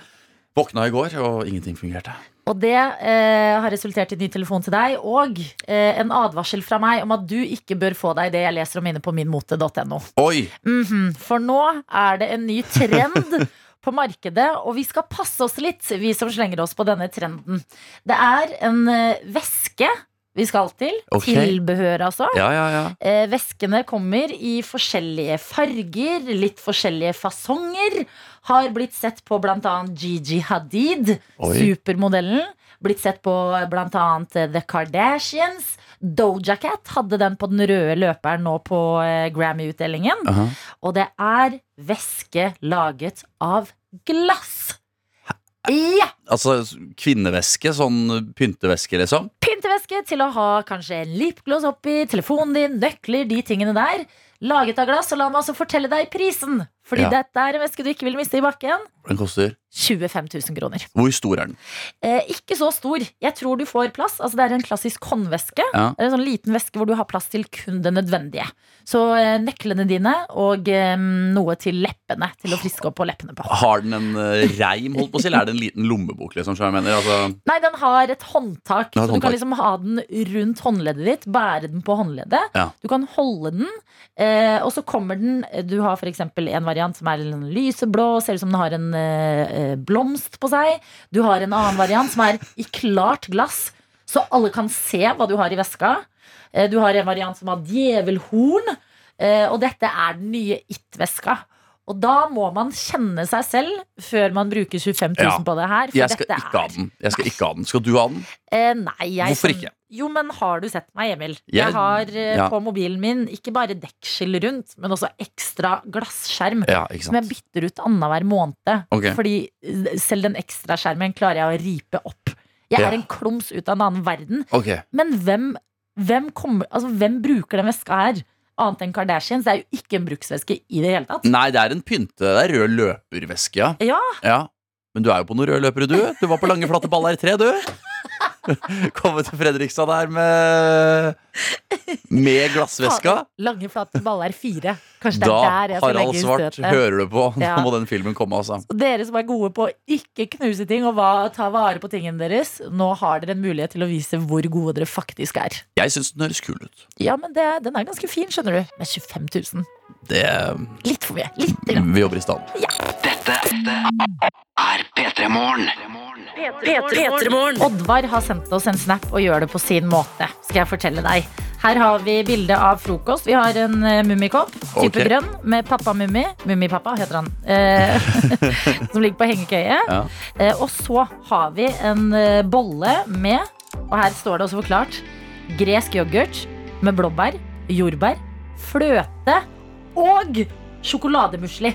Våkna i går, og ingenting fungerte. Og det eh, har resultert i ny telefon til deg og eh, en advarsel fra meg om at du ikke bør få deg det jeg leser om inne på minmote.no. Oi! Mhm, For nå er det en ny trend på markedet, og vi skal passe oss litt, vi som slenger oss på denne trenden. Det er en eh, veske vi skal til. Ok. Tilbehør, altså. Ja, ja, ja. Eh, Veskene kommer i forskjellige farger, litt forskjellige fasonger. Har blitt sett på bl.a. Gigi Hadid, Oi. supermodellen. Blitt sett på bl.a. The Kardashians. Doja Cat hadde den på den røde løperen nå på eh, Grammy-utdelingen. Aha. Og det er væske laget av glass. Ja! Altså kvinneveske, sånn pynteveske, liksom. Pynteveske til å ha kanskje en lipgloss oppi, telefonen din, nøkler, de tingene der. Laget av glass, og la meg også fortelle deg prisen. Fordi Ja. dette er en veske du ikke vil miste i bakken. Den koster 25 000 kroner. Hvor stor er den? Eh, ikke så stor. Jeg tror du får plass. Altså, det er en klassisk håndveske. Ja. Det er En sånn liten veske hvor du har plass til kun det nødvendige. Så eh, nøklene dine og eh, noe til leppene. Til å friske opp på leppene på. Har den en eh, reim, holdt på å si, eller er det en liten lommebok? liksom, som jeg mener? Altså, Nei, den har et håndtak. Den så har et du håndtak. kan liksom ha den rundt håndleddet ditt. Bære den på håndleddet. Ja. Du kan holde den, eh, og så kommer den Du har f.eks. en variant som er en lyseblå, ser ut som den har en eh, eh, blomst på seg. Du har en annen variant som er i klart glass, så alle kan se hva du har i veska. Eh, du har en variant som har djevelhorn, eh, og dette er den nye It-veska. Og da må man kjenne seg selv før man bruker 25 000 Ja. på det her. For jeg skal dette ikke ha er den. Jeg skal ikke ha den. Skal du ha den? Eh, nei, jeg Hvorfor som- ikke? Jo, men har du sett meg, Emil? Jeg, Jeg- har eh, ja. på mobilen min ikke bare dekkskill rundt, men også ekstra glasskjerm. Ja, ikke Som jeg sant? bytter ut annenhver måned. Ok. Fordi eh, selv den ekstra skjermen klarer jeg å ripe opp. Jeg Ja. er en klums ut av en annen verden. Ok, Men hvem, hvem, kommer, altså, hvem bruker den veska her? Annet enn Kardashians. Det er jo ikke en bruksveske i det hele tatt. Nei, det er en pynte. Det er rød løperveske, ja. Ja, ja. Men du er jo på noen røde løpere, du. Du var på lange, flate baller 3, du. Komme til Fredrikstad der med Med glassveska. Lange, flate baller fire. Kanskje det Da, er der jeg skal Harald legge inn Svart, støtet. hører du på. Nå Ja. må den filmen komme, altså. Og dere som er gode på å ikke knuse ting og va- ta vare på tingene deres, nå har dere en mulighet til å vise hvor gode dere faktisk er. Jeg syns den høres kul ut. Ja, men det, den er ganske fin, skjønner du. Med 25 000. Det Litt for mye. Litt grann. Vi jobber i stand. Dette er P3 Morgen. P3morgen. Oddvar har sendt oss en snap og gjør det på sin måte. Skal jeg fortelle deg. Her har vi bilde av frokost. Vi har en uh, mummikopp, type Ok. grønn, med pappa Mummi. Mummipappa heter han. eh, som ligger på hengekøye. Ja. Eh, og så har vi en eh, bolle med, og her står det også forklart, gresk yoghurt med blåbær, jordbær, fløte og sjokolademusli.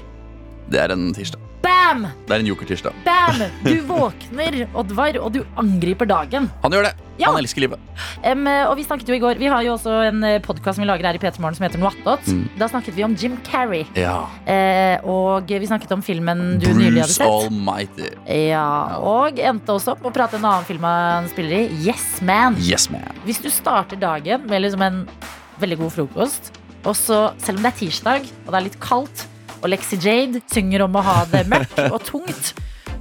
Det er en tirsdag. Bam! Det er en jokertirsdag. Bam! Du våkner, Oddvar, og du angriper dagen. Han gjør det. Ja. Han elsker livet. Em, eh, og Vi snakket jo i går Vi har jo også en podkast som vi lager her i P3 Morgen som heter Noattot. Mm. Da snakket vi om Jim Carrey. Ja. Eh, og vi snakket om filmen du nylig hadde Bruce sett. Almighty. Ja, og endte også opp med å prate om en annen film han spiller i, Yes Man. Yes, man. Hvis du starter dagen med liksom en veldig god frokost, og så, selv om det er tirsdag og det er litt kaldt, og Lexi Jade synger om å ha det mørkt og tungt,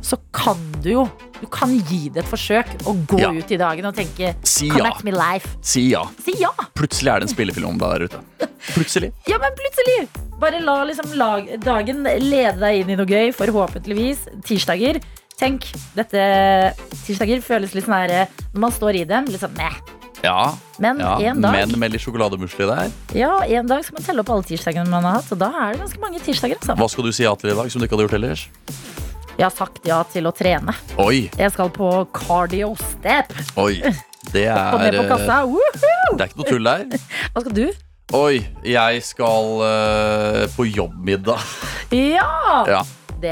så kan du jo Du kan gi det et forsøk og gå Ja. ut i dagen og tenke Si Come ja. at me life. Si ja. Si ja! Plutselig er det en spillefilm om deg der ute. Plutselig. Ja, men plutselig! Bare la liksom lag, dagen lede deg inn i noe gøy, forhåpentligvis. Tirsdager. Tenk, dette Tirsdager føles litt sånn her eh, Når man står i dem, litt sånn meh. Ja. Men ja. en dag Men med litt sjokolademusli der. Ja, en dag skal man telle opp alle tirsdagene man har hatt, og da er det ganske mange tirsdager. Altså. Hva skal du si ja til i dag som du ikke hadde gjort ellers? Jeg har sagt ja til å trene. Oi, Jeg skal på cardio step. oi. Det er, eh, Kom ned på kassa. Woohoo! det er ikke noe tull der. Hva skal du? Oi, jeg skal eh, på jobbmiddag. Ja! Ja,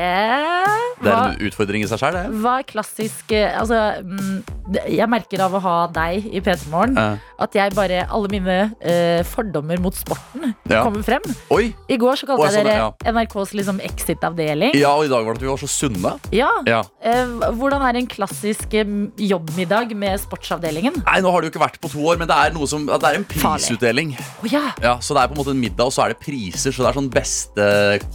Det Det var er en utfordring i seg sjøl, det. hva er klassisk eh, Altså, mm, det- jeg merker av å ha deg i P3 Morgen Eh, at jeg bare Alle mine eh, fordommer mot sporten Ja. kommer frem. Oi! I går så kalte Å, jeg jeg dere så NRKs liksom exit-avdeling. Ja, og i dag var det at vi var så sunne. Ja. Ja. Eh, hvordan er en klassisk eh, jobbmiddag med sportsavdelingen? Nei, nå har det jo ikke vært på to år, men det er, noe som, det er en prisutdeling. Å ja! Ja, så det er på en måte en middag, og så er det priser. Så det er sånn beste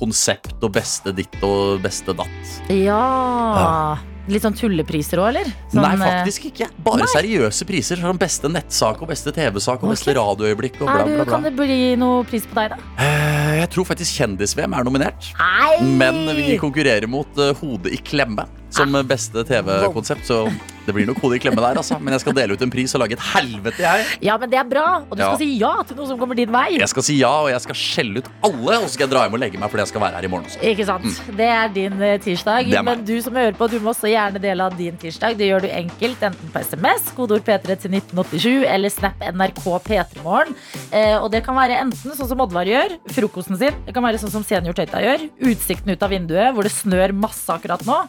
konsept og beste ditt og beste datt. Ja Litt sånn tullepriser òg, eller? Sånn, Nei, faktisk ikke. Bare seriøse priser. Sånn beste nettsak og beste TV-sak og beste Ok. radioøyeblikk og eh, er bla, du, bla, Kan bla. det bli noe pris på deg, da? Eh, Jeg tror faktisk Kjendis-VM er nominert. Nei! Men vi konkurrerer mot eh, Hodet i klemme som Ah. eh, beste TV-konsept. Så det blir nok Hodet i klemme der, altså. Men jeg skal dele ut en pris og lage et helvete, jeg. Ja, men det er bra! Og du Ja. skal si ja til noe som kommer din vei. Jeg skal si ja, og jeg skal skjelle ut alle, og så skal jeg dra hjem og legge meg fordi jeg skal være her i morgen også. Ikke sant? Det er din eh, tirsdag. Det er meg. Men du som hører på, du må også gjerne dele av din tirsdag. Det gjør du enkelt, enten på SMS, kodeord P3 til 1987, eller Snap NRK P3morgen. Eh, og det kan være enten sånn som Oddvar gjør, frokosten sin. Det kan være sånn som senior Tøyta gjør, utsikten ut av vinduet, hvor det snør masse akkurat nå.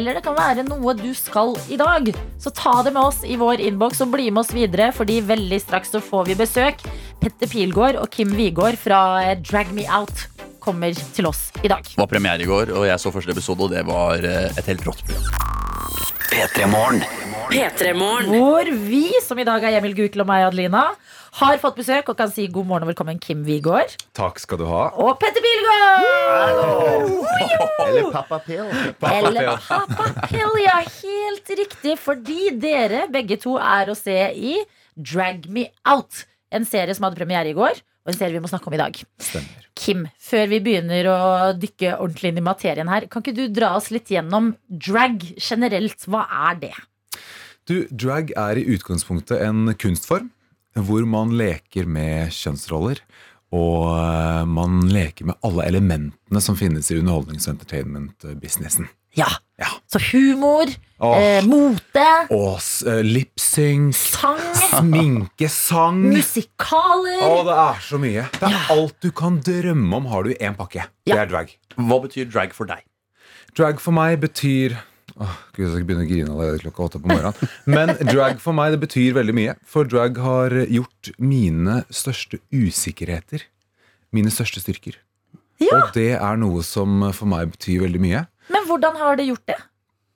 Eller det kan være noe du skal i dag. Så ta det med oss i vår innboks og bli med oss videre, fordi veldig straks så får vi besøk. Petter Pilgaard og Kim Wigård fra eh, Drag Me Out. kommer til oss i dag. Det var premiere i går, og jeg så første episode, og det var eh, et helt rått program. P3 Morgen. P3-morgen. Hvor vi, som i dag er Emil Gukild og meg, Adelina, har fått besøk og kan si god morgen og velkommen Kim Wigård Takk skal du ha. og Petter Bilgaard! Eller Papa Pill. Eller Papa Pill, ja. Helt riktig. Fordi dere begge to er å se i Drag Me Out. En serie som hadde premiere i går, og en serie vi må snakke om i dag. Stemmer. Kim, før vi begynner å dykke ordentlig inn i materien her, kan ikke du dra oss litt gjennom drag generelt? Hva er det? Du, drag er i utgangspunktet en kunstform hvor man leker med kjønnsroller. Og eh, man leker med alle elementene som finnes i underholdnings- og entertainment-businessen. Ja. Ja. Så humor, Åh. eh, mote, Og s- eh, lipsync, sang, sminke, sang musikaler. Å, det er så mye. Det er alt du kan drømme om, har du i én pakke. Det Ja. er drag. Hva betyr drag for deg? Drag for meg betyr Åh, Gud, jeg skal begynne å grine allerede klokka åtte på morgenen. Men drag for meg, det betyr veldig mye. For drag har gjort mine største usikkerheter mine største styrker. Og det er noe som for meg betyr veldig mye. Men hvordan har det gjort det?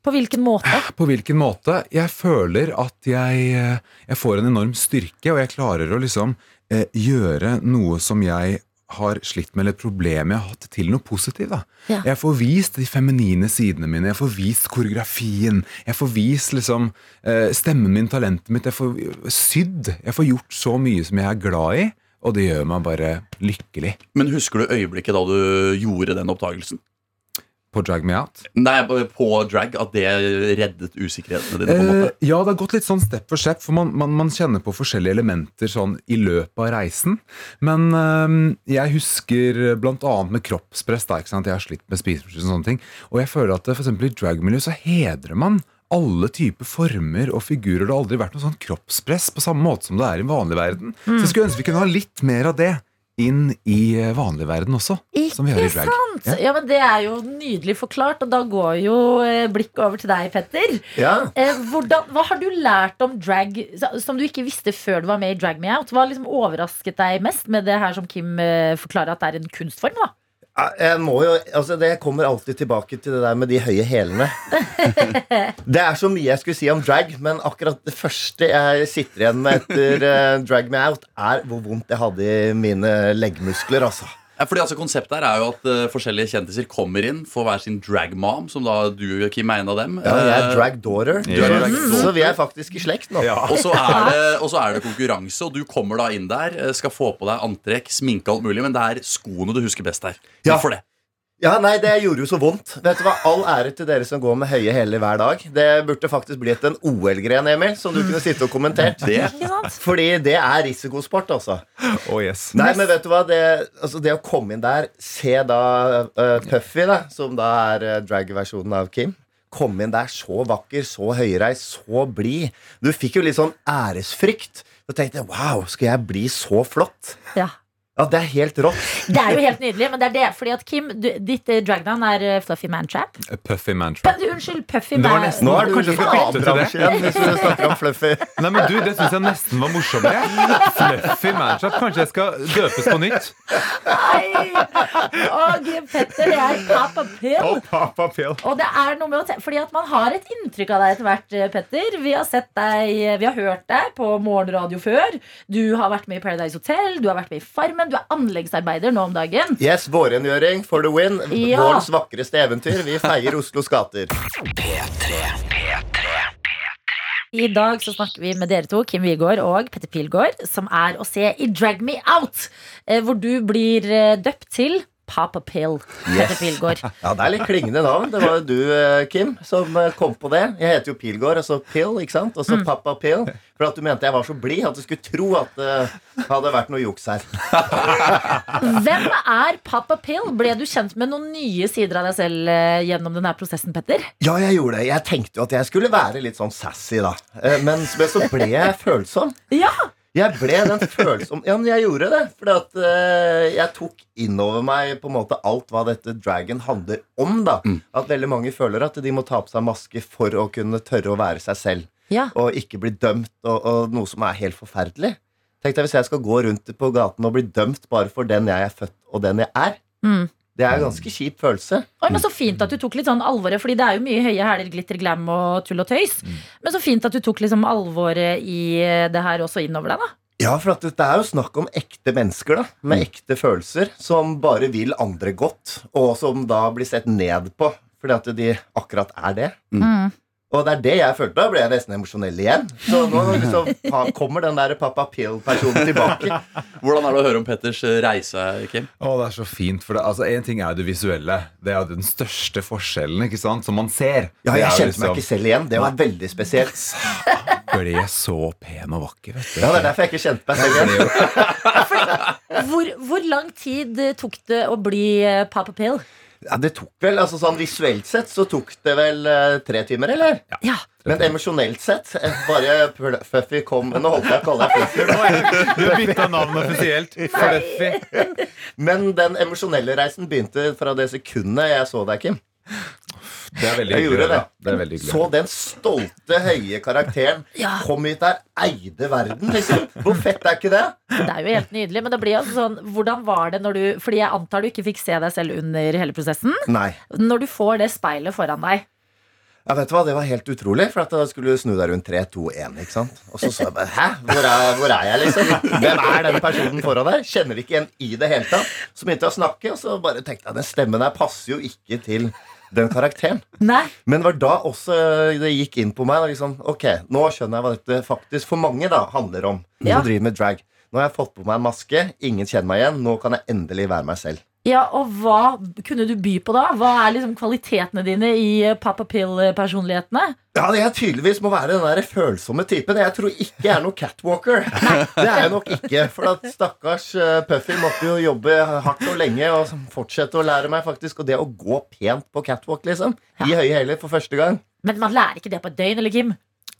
På hvilken måte? På hvilken måte? Jeg føler at jeg, eh, jeg får en enorm styrke, og jeg klarer å liksom eh, gjøre noe som jeg har slitt med, eller problemet jeg har hatt, til noe positivt. da. Ja. Jeg får vist de feminine sidene mine, jeg får vist koreografien, jeg får vist liksom eh, stemmen min, talentet mitt, jeg får sydd. Jeg får gjort så mye som jeg er glad i, og det gjør meg bare lykkelig Men husker du øyeblikket da du gjorde den oppdagelsen? på Drag Me Out. Nei, på drag, at det reddet usikkerhetene dine? på en måte Eh, ja, det har gått litt sånn step for step, for man, man, man kjenner på forskjellige elementer sånn i løpet av reisen. Men eh, jeg husker bl.a. med kroppspress, da, ikke sant? jeg har slitt med spiseforstyrrelser og sånne ting. Og jeg føler at eh, for eksempel i dragmiljø så hedrer man alle typer former og figurer. Det har aldri vært noe sånn kroppspress på samme måte som det er i vanlig verden. Så jeg skulle ønske vi kunne ha litt mer av det inn i eh, vanlig verden også. Som vi har i Ikke drag. sant? Ja. Ja, men Det er jo nydelig forklart, og da går jo eh, blikket over til deg, Petter. Ja. Eh, hvordan, hva har du lært om drag sa- som du ikke visste før du var med i Drag Me Out? Hva liksom overrasket deg mest med det her som Kim eh, forklarer at det er en kunstform? da? Ja, Jeg må jo, altså Det kommer alltid tilbake til det der med de høye hælene. Det er så mye jeg skulle si om drag, men akkurat det første jeg sitter igjen med etter eh, Drag Me Out, er hvor vondt jeg hadde i mine leggmuskler. altså Ja, fordi altså Konseptet her er jo at eh, forskjellige kjendiser kommer inn, får hver sin dragmom, som da du, Kim, er en av dem. ja, Jeg Eh, er drag daughter, Du er drag så, så vi er faktisk i slekt nå. Og så er, det- og så er det konkurranse, og du kommer da inn der, eh, skal få på deg antrekk, sminke alt mulig, men det er skoene du husker best her. Ja. Hvorfor det? Ja, nei, Det gjorde jo så vondt. Vet du hva, All ære til dere som går med høye hæler hver dag. Det burde faktisk blitt en OL-gren, Emil, som du kunne sitte og kommentert. Ikke sant? Fordi det er risikosport, altså. Å, yes. Nei, men vet du hva? Det, altså det å komme inn der, se da eh, Puffy, da, som da er eh, drag-versjonen av Kim Komme inn der så vakker, så høyreist, så blid. Du fikk jo litt sånn æresfrykt. Du tenkte jeg, wow, skal jeg bli så flott? Ja. Ja, det er helt rått. Det er jo helt nydelig, men det er det fordi at Kim, du, ditt eh, dragnavn er eh, Fluffy Mantrap. A Puffy mantra. Men, Unnskyld, Puffy Det var Man- nesten- Nå er du Kanskje i vi skal bytte til det? bransje igjen hvis du snakker om Fluffy. Nei, men du, Det syns jeg nesten var morsommere. Fluffy mantrap. Kanskje jeg skal døpes på nytt? Nei! Og Petter, det er Papa Pill. Oh, Papa Phil. Og det er noe med å te Fordi at man har et inntrykk av deg etter hvert, eh, Petter. Vi har sett deg, eh, vi har hørt deg på morgenradio før. Du har vært med i Paradise Hotel, du har vært med i Farmen. Du er anleggsarbeider nå om dagen. Yes, vårrengjøring for the win. Ja. Vårens vakreste eventyr. Vi feier Oslos gater. I dag så snakker vi med dere to, Kim Wigård og Petter Pilgaard, som er å se i Drag Me Out, eh, hvor du blir eh, døpt til Papa Pill. Petter Pilgaard. Ja, Det er litt klingende navn. Det var jo du, eh, Kim, som eh, kom på det. Jeg heter jo Pilgaard, altså Pill, ikke sant? Og så Mm. Pappa Pill. For at du mente jeg var så blid at du skulle tro at eh, det hadde vært noe juks her. Hvem er Papa Pill? Ble du kjent med noen nye sider av deg selv eh, gjennom denne prosessen, Petter? Ja, jeg gjorde det. Jeg tenkte jo at jeg skulle være litt sånn sassy, da. Eh, Men men så ble jeg følsom. Ja! Jeg ble den følsom Ja, men jeg gjorde det. For at eh, jeg tok innover meg på en måte alt hva dette dragon handler om. da At veldig mange føler at de må ta på seg maske for å kunne tørre å være seg selv. Ja. Og ikke bli dømt, og, og noe som er helt forferdelig. Tenk deg hvis jeg skal gå rundt på gaten og bli dømt bare for den jeg er født og den jeg er. Mm. Det er en ganske kjip følelse. Oi, men Så fint at du tok litt sånn alvoret, Fordi det er jo mye høye hæler, glitter, glam og tull og tøys. Men så fint at du tok liksom alvoret i eh, det her også innover deg, da. Ja, for at det er jo snakk om ekte mennesker, da. Med ekte følelser. Som bare vil andre godt, og som da blir sett ned på. Fordi at de akkurat er det. Og det er det jeg følte. Da ble jeg nesten emosjonell igjen. Så nå liksom, pa- kommer den der Papa Pill-personen tilbake. Hvordan er det å høre om Petters eh, reise, Kim? Å, det er så fint. For det, altså, en ting er jo det visuelle. Det er jo den største forskjellen ikke sant, som man ser. Ja, Det jeg er jo kjente meg ikke selv igjen. Det var veldig spesielt. Ble jeg så pen og vakker, vet du. Ja, Det er derfor jeg ikke kjente meg selv igjen. Hvor, hvor lang tid eh, tok det å bli eh, Papa Pill? Ja, det tok vel, altså sånn Visuelt sett så tok det vel eh, tre timer, eller? Ja. Men emosjonelt sett eh, Bare Pl- Fluffy kom Nå holdt jeg å kalle deg Fluffy. nå, jeg. Du bytta navn offisielt. Fluffy. Men den emosjonelle reisen begynte fra det sekundet jeg så deg, Kim. Det er veldig Jeg hyggelig. gjorde å høre, det. da. Det er veldig hyggelig. Så den stolte, høye karakteren Ja. kom hit der, eide verden, liksom. Hvor fett er ikke det? Det er jo helt nydelig. Men det blir altså sånn Hvordan var det når du Fordi jeg antar du ikke fikk se deg selv under hele prosessen. Nei. Når du får det speilet foran deg. Ja, vet du hva, Det var helt utrolig, for at da skulle du snu deg rundt 3, 2, 1. ikke sant? Og så så jeg bare Hæ? Hvor er, hvor er jeg, liksom? Hvem er den personen foran der? Kjenner ikke igjen i det hele tatt. Så begynte jeg å snakke, og så bare tenkte jeg den stemmen der passer jo ikke til den karakteren. Nei. Men det var da også det gikk inn på meg. da Liksom, ok, nå skjønner jeg hva dette faktisk for mange da handler om. Ja. Som driver med drag. Nå har jeg fått på meg en maske, ingen kjenner meg igjen. Nå kan jeg endelig være meg selv. Ja, og hva kunne du by på da? Hva er liksom kvalitetene dine i eh, Papa Pill-personlighetene? Ja, det er tydeligvis må være den der følsomme typen. Jeg tror ikke jeg er noen catwalker. Det er jeg nok ikke. For at stakkars eh, Puffy måtte jo jobbe hardt og lenge og fortsette å lære meg faktisk. Og det å gå pent på catwalk, liksom. I høye hæler for første gang. Men man lærer ikke det på et døgn, eller Kim?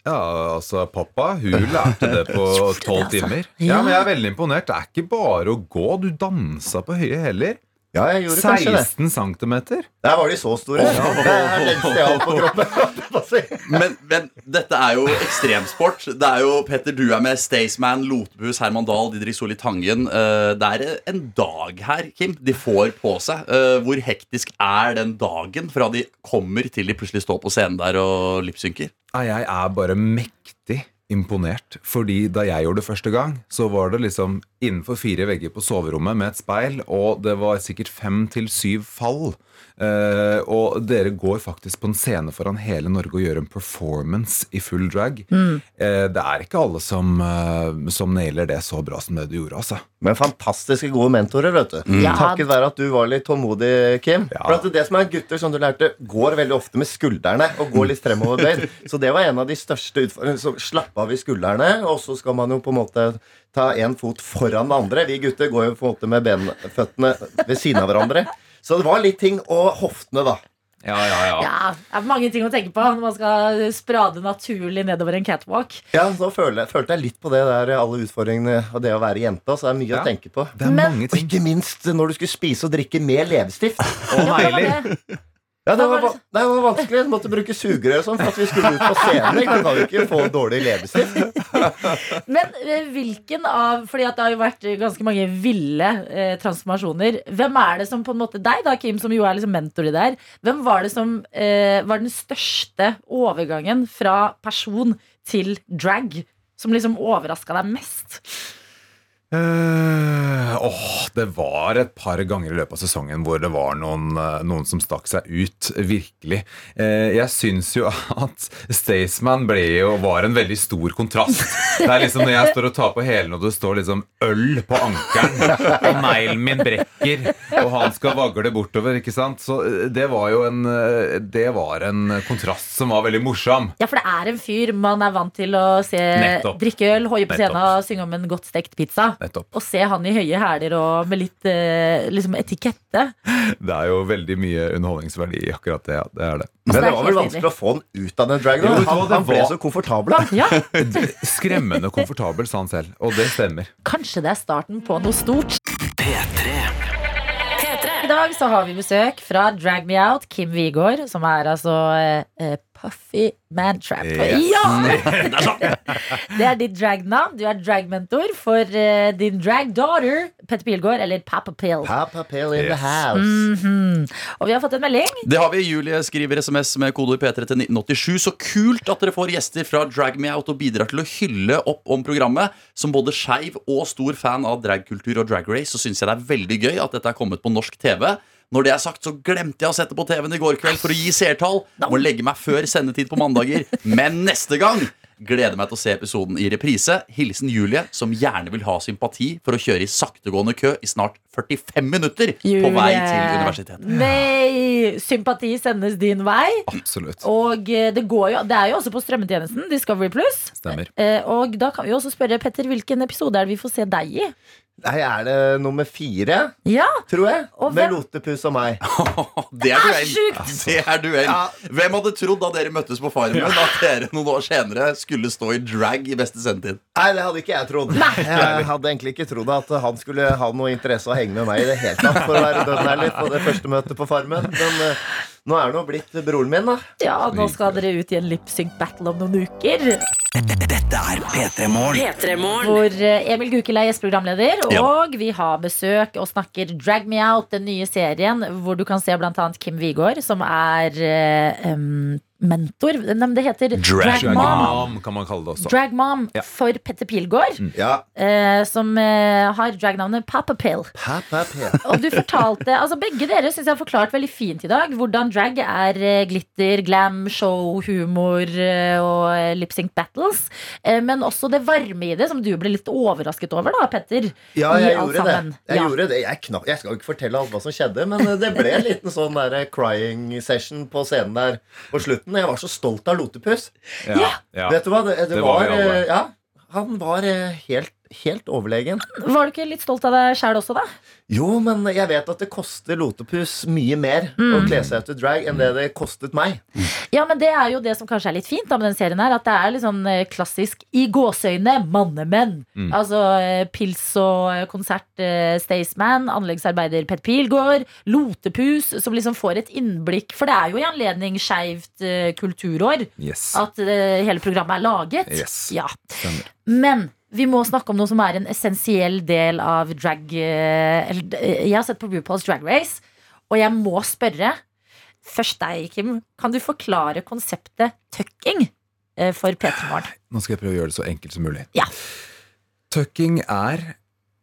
Ja, altså, pappa, hun lærte det på altså. tolv timer. Ja. Ja, men jeg er veldig imponert. Det er ikke bare å gå. Du dansa på høye hæler. Ja, jeg gjorde kanskje det. 16 cm. Der var de så store. Det er lengst jeg har på kroppen. Men, men dette er jo ekstremsport. Det er jo Petter, du er med Staysman, Lotbus, Herman Dahl, Didrik Solli Tangen. Eh, Det er en dag her, Kim. De får på seg. Eh, Hvor hektisk er den dagen fra de kommer til de plutselig står på scenen der og lipsynker? Nei, jeg er bare mektig imponert. Fordi da jeg gjorde det første gang, så var det liksom innenfor fire vegger på soverommet med et speil, og det var sikkert fem til syv fall. Eh, og dere går faktisk på en scene foran hele Norge og gjør en performance i full drag. Eh, det er ikke alle som, eh, som nailer det så bra som det du gjorde, altså. Men fantastiske gode mentorer, vet du. Ja. Takket være at du var litt tålmodig, Kim. Ja. For at det som er gutter, som du lærte, går veldig ofte med skuldrene og går litt fremover bøyd. Så det var en av de største utfordringene. Så slapp av i skuldrene, og så skal man jo på en måte ta én fot foran den andre. Vi gutter går jo på en måte med ben, føttene ved siden av hverandre. Så det var litt ting. Og hoftene, da. Ja, ja, Ja, Det er mange ting å tenke på når man skal sprade naturlig nedover en catwalk. Ja, så følte, følte jeg litt på det der, alle utfordringene og det å være jente. Så det er mye Ja. å tenke på. Det er Men- mange Og ting. ikke minst når du skulle spise og drikke med leppestift. Ja, Og det var negler. det. Ja, det Hva var, var det va- det var vanskelig. Du måtte bruke sugerør og sånn for at vi skulle ut på scenen. ikke? Du kan jo ikke få dårlig leppestift. Men eh, hvilken av Fordi at det har jo vært ganske mange ville eh, transformasjoner. Hvem er det som på en måte Deg da, Kim, som jo er liksom mentor i det her. Hvem var det som eh, var den største overgangen fra person til drag? Som liksom overraska deg mest? Eh, Åh, det var et par ganger i løpet av sesongen hvor det var noen, eh, noen som stakk seg ut, virkelig. Eh, jeg syns jo at Staysman ble jo, var en veldig stor kontrast. Det er liksom når jeg står og tar på hælene, og det står liksom øl på ankelen, og neglen min brekker, og han skal vagle bortover, ikke sant. Så eh, det var jo en, eh, det var en kontrast som var veldig morsom. Ja, for det er en fyr man er vant til å se Nettopp. drikke øl, hoie på Nettopp. scenen og synge om en godt stekt pizza. Nettopp. Å se han i høye hæler og med litt eh, liksom etikette. Det er jo veldig mye underholdningsverdi i akkurat det. ja. Det er det. Men det det er var vel helt vanskelig å få han ut av den dragen. Jo, vet du Han, hva, det han ble var- så komfortabel. da. Ja, Skremmende komfortabel, sa han selv. Og det stemmer. Kanskje det er starten på noe stort. P3 I dag så har vi besøk fra Drag Me Out, Kim Wigård, som er altså eh, eh, Puffy Mantrap. Yes. Ja! Det er ditt dragnavn. Du er dragmentor for eh, din dragdaughter Petter Pilgaard, eller Papa Pill. Papa Pill in the Yes. house. Mhm. Og vi har fått en melding. Det har vi. Julie skriver SMS med kodeord P3 til 1987. Så kult at dere får gjester fra Drag Me Out og bidrar til å hylle opp om programmet. Som både skeiv og stor fan av dragkultur og drag race, så syns jeg det er veldig gøy at dette er kommet på norsk TV. Når det er sagt, så glemte jeg å sette på TV-en i går kveld for å gi seertall. Må legge meg før sendetid på mandager. Men neste gang gleder meg til å se episoden i reprise. Hilsen Julie, som gjerne vil ha sympati for å kjøre i saktegående kø i snart 45 minutter på vei til universitetet. Nei! Sympati sendes din vei. Absolutt. Og eh, det, går jo, det er jo også på strømmetjenesten Discovery Pluss. Stemmer. Eh, Og da kan vi jo også spørre Petter, hvilken episode er det vi får se deg i? Nei, er det nummer fire? Ja. Tror jeg. Og Med hvem- Lotepus og meg. Det er duell. sjukt! Det er duell. Hvem hadde trodd da dere møttes på Farmen, at dere noen år senere skulle stå i drag i beste sendetid? Nei, det hadde ikke jeg trodd. Jeg hadde egentlig ikke trodd at han skulle ha noe interesse av å henge med meg i det hele tatt, for å være dønn ærlig, på det første møtet på Farmen. Men eh, nå er det nå blitt broren min, da. Ja, nå skal dere ut i en lipsync battle om noen uker. Dette er P3 Morgen. Hvor eh, Emil Gukild er gjesteprogramleder, Ja. og vi har besøk og snakker Drag Me Out, den nye serien hvor du kan se bl.a. Kim Wigård, som er eh, em, mentor Nei, men det heter Drag, Mom. Mom, kan man kalle det også. Drag Mom Ja. for Petter Pilgaard, Mm. eh, som eh, har dragnavnet Papa Pill. Og du fortalte, altså Begge dere synes jeg har forklart veldig fint i dag hvordan drag er eh, glitter, glam, show, humor eh, og eh, lip-sync battles. Eh, Men også det varme i det, som du ble litt overrasket over, da, Petter. Ja, i jeg alt gjorde det. sammen. Jeg, Ja. gjorde det. Jeg, knapp, jeg skal jo ikke fortelle alt hva som skjedde, men eh, det ble en liten sånn der crying session på scenen der på slutten. Jeg var så stolt av Lotepus. Ja, Ja. ja. Vet du hva, det, det, Det var var, vi alle. eh, Ja, han var eh, helt, helt overlegen. Var du ikke litt stolt av deg sjæl også, da? Jo, men jeg vet at det koster Lotepus mye mer å Mm. kle seg ut i drag enn det det kostet meg. Ja, men det er jo det som kanskje er litt fint da, med den serien her, at det er litt sånn eh, klassisk i gåseøyne mannemenn. Mm. Altså eh, Pils og eh, konsert eh, Staysman, anleggsarbeider Pet Pilgaard, Lotepus, som liksom får et innblikk, for det er jo i anledning skeivt eh, kulturår Yes. at eh, hele programmet er laget. Yes. Ja. Stemmer. Men vi må snakke om noe som er en essensiell del av drag eh, eller, eh, Jeg har sett på RuPaul's Drag Race, og jeg må spørre Først deg, Kim. Kan du forklare konseptet tucking eh, for P3 Morgen? Nå skal jeg prøve å gjøre det så enkelt som mulig. Ja. Tucking er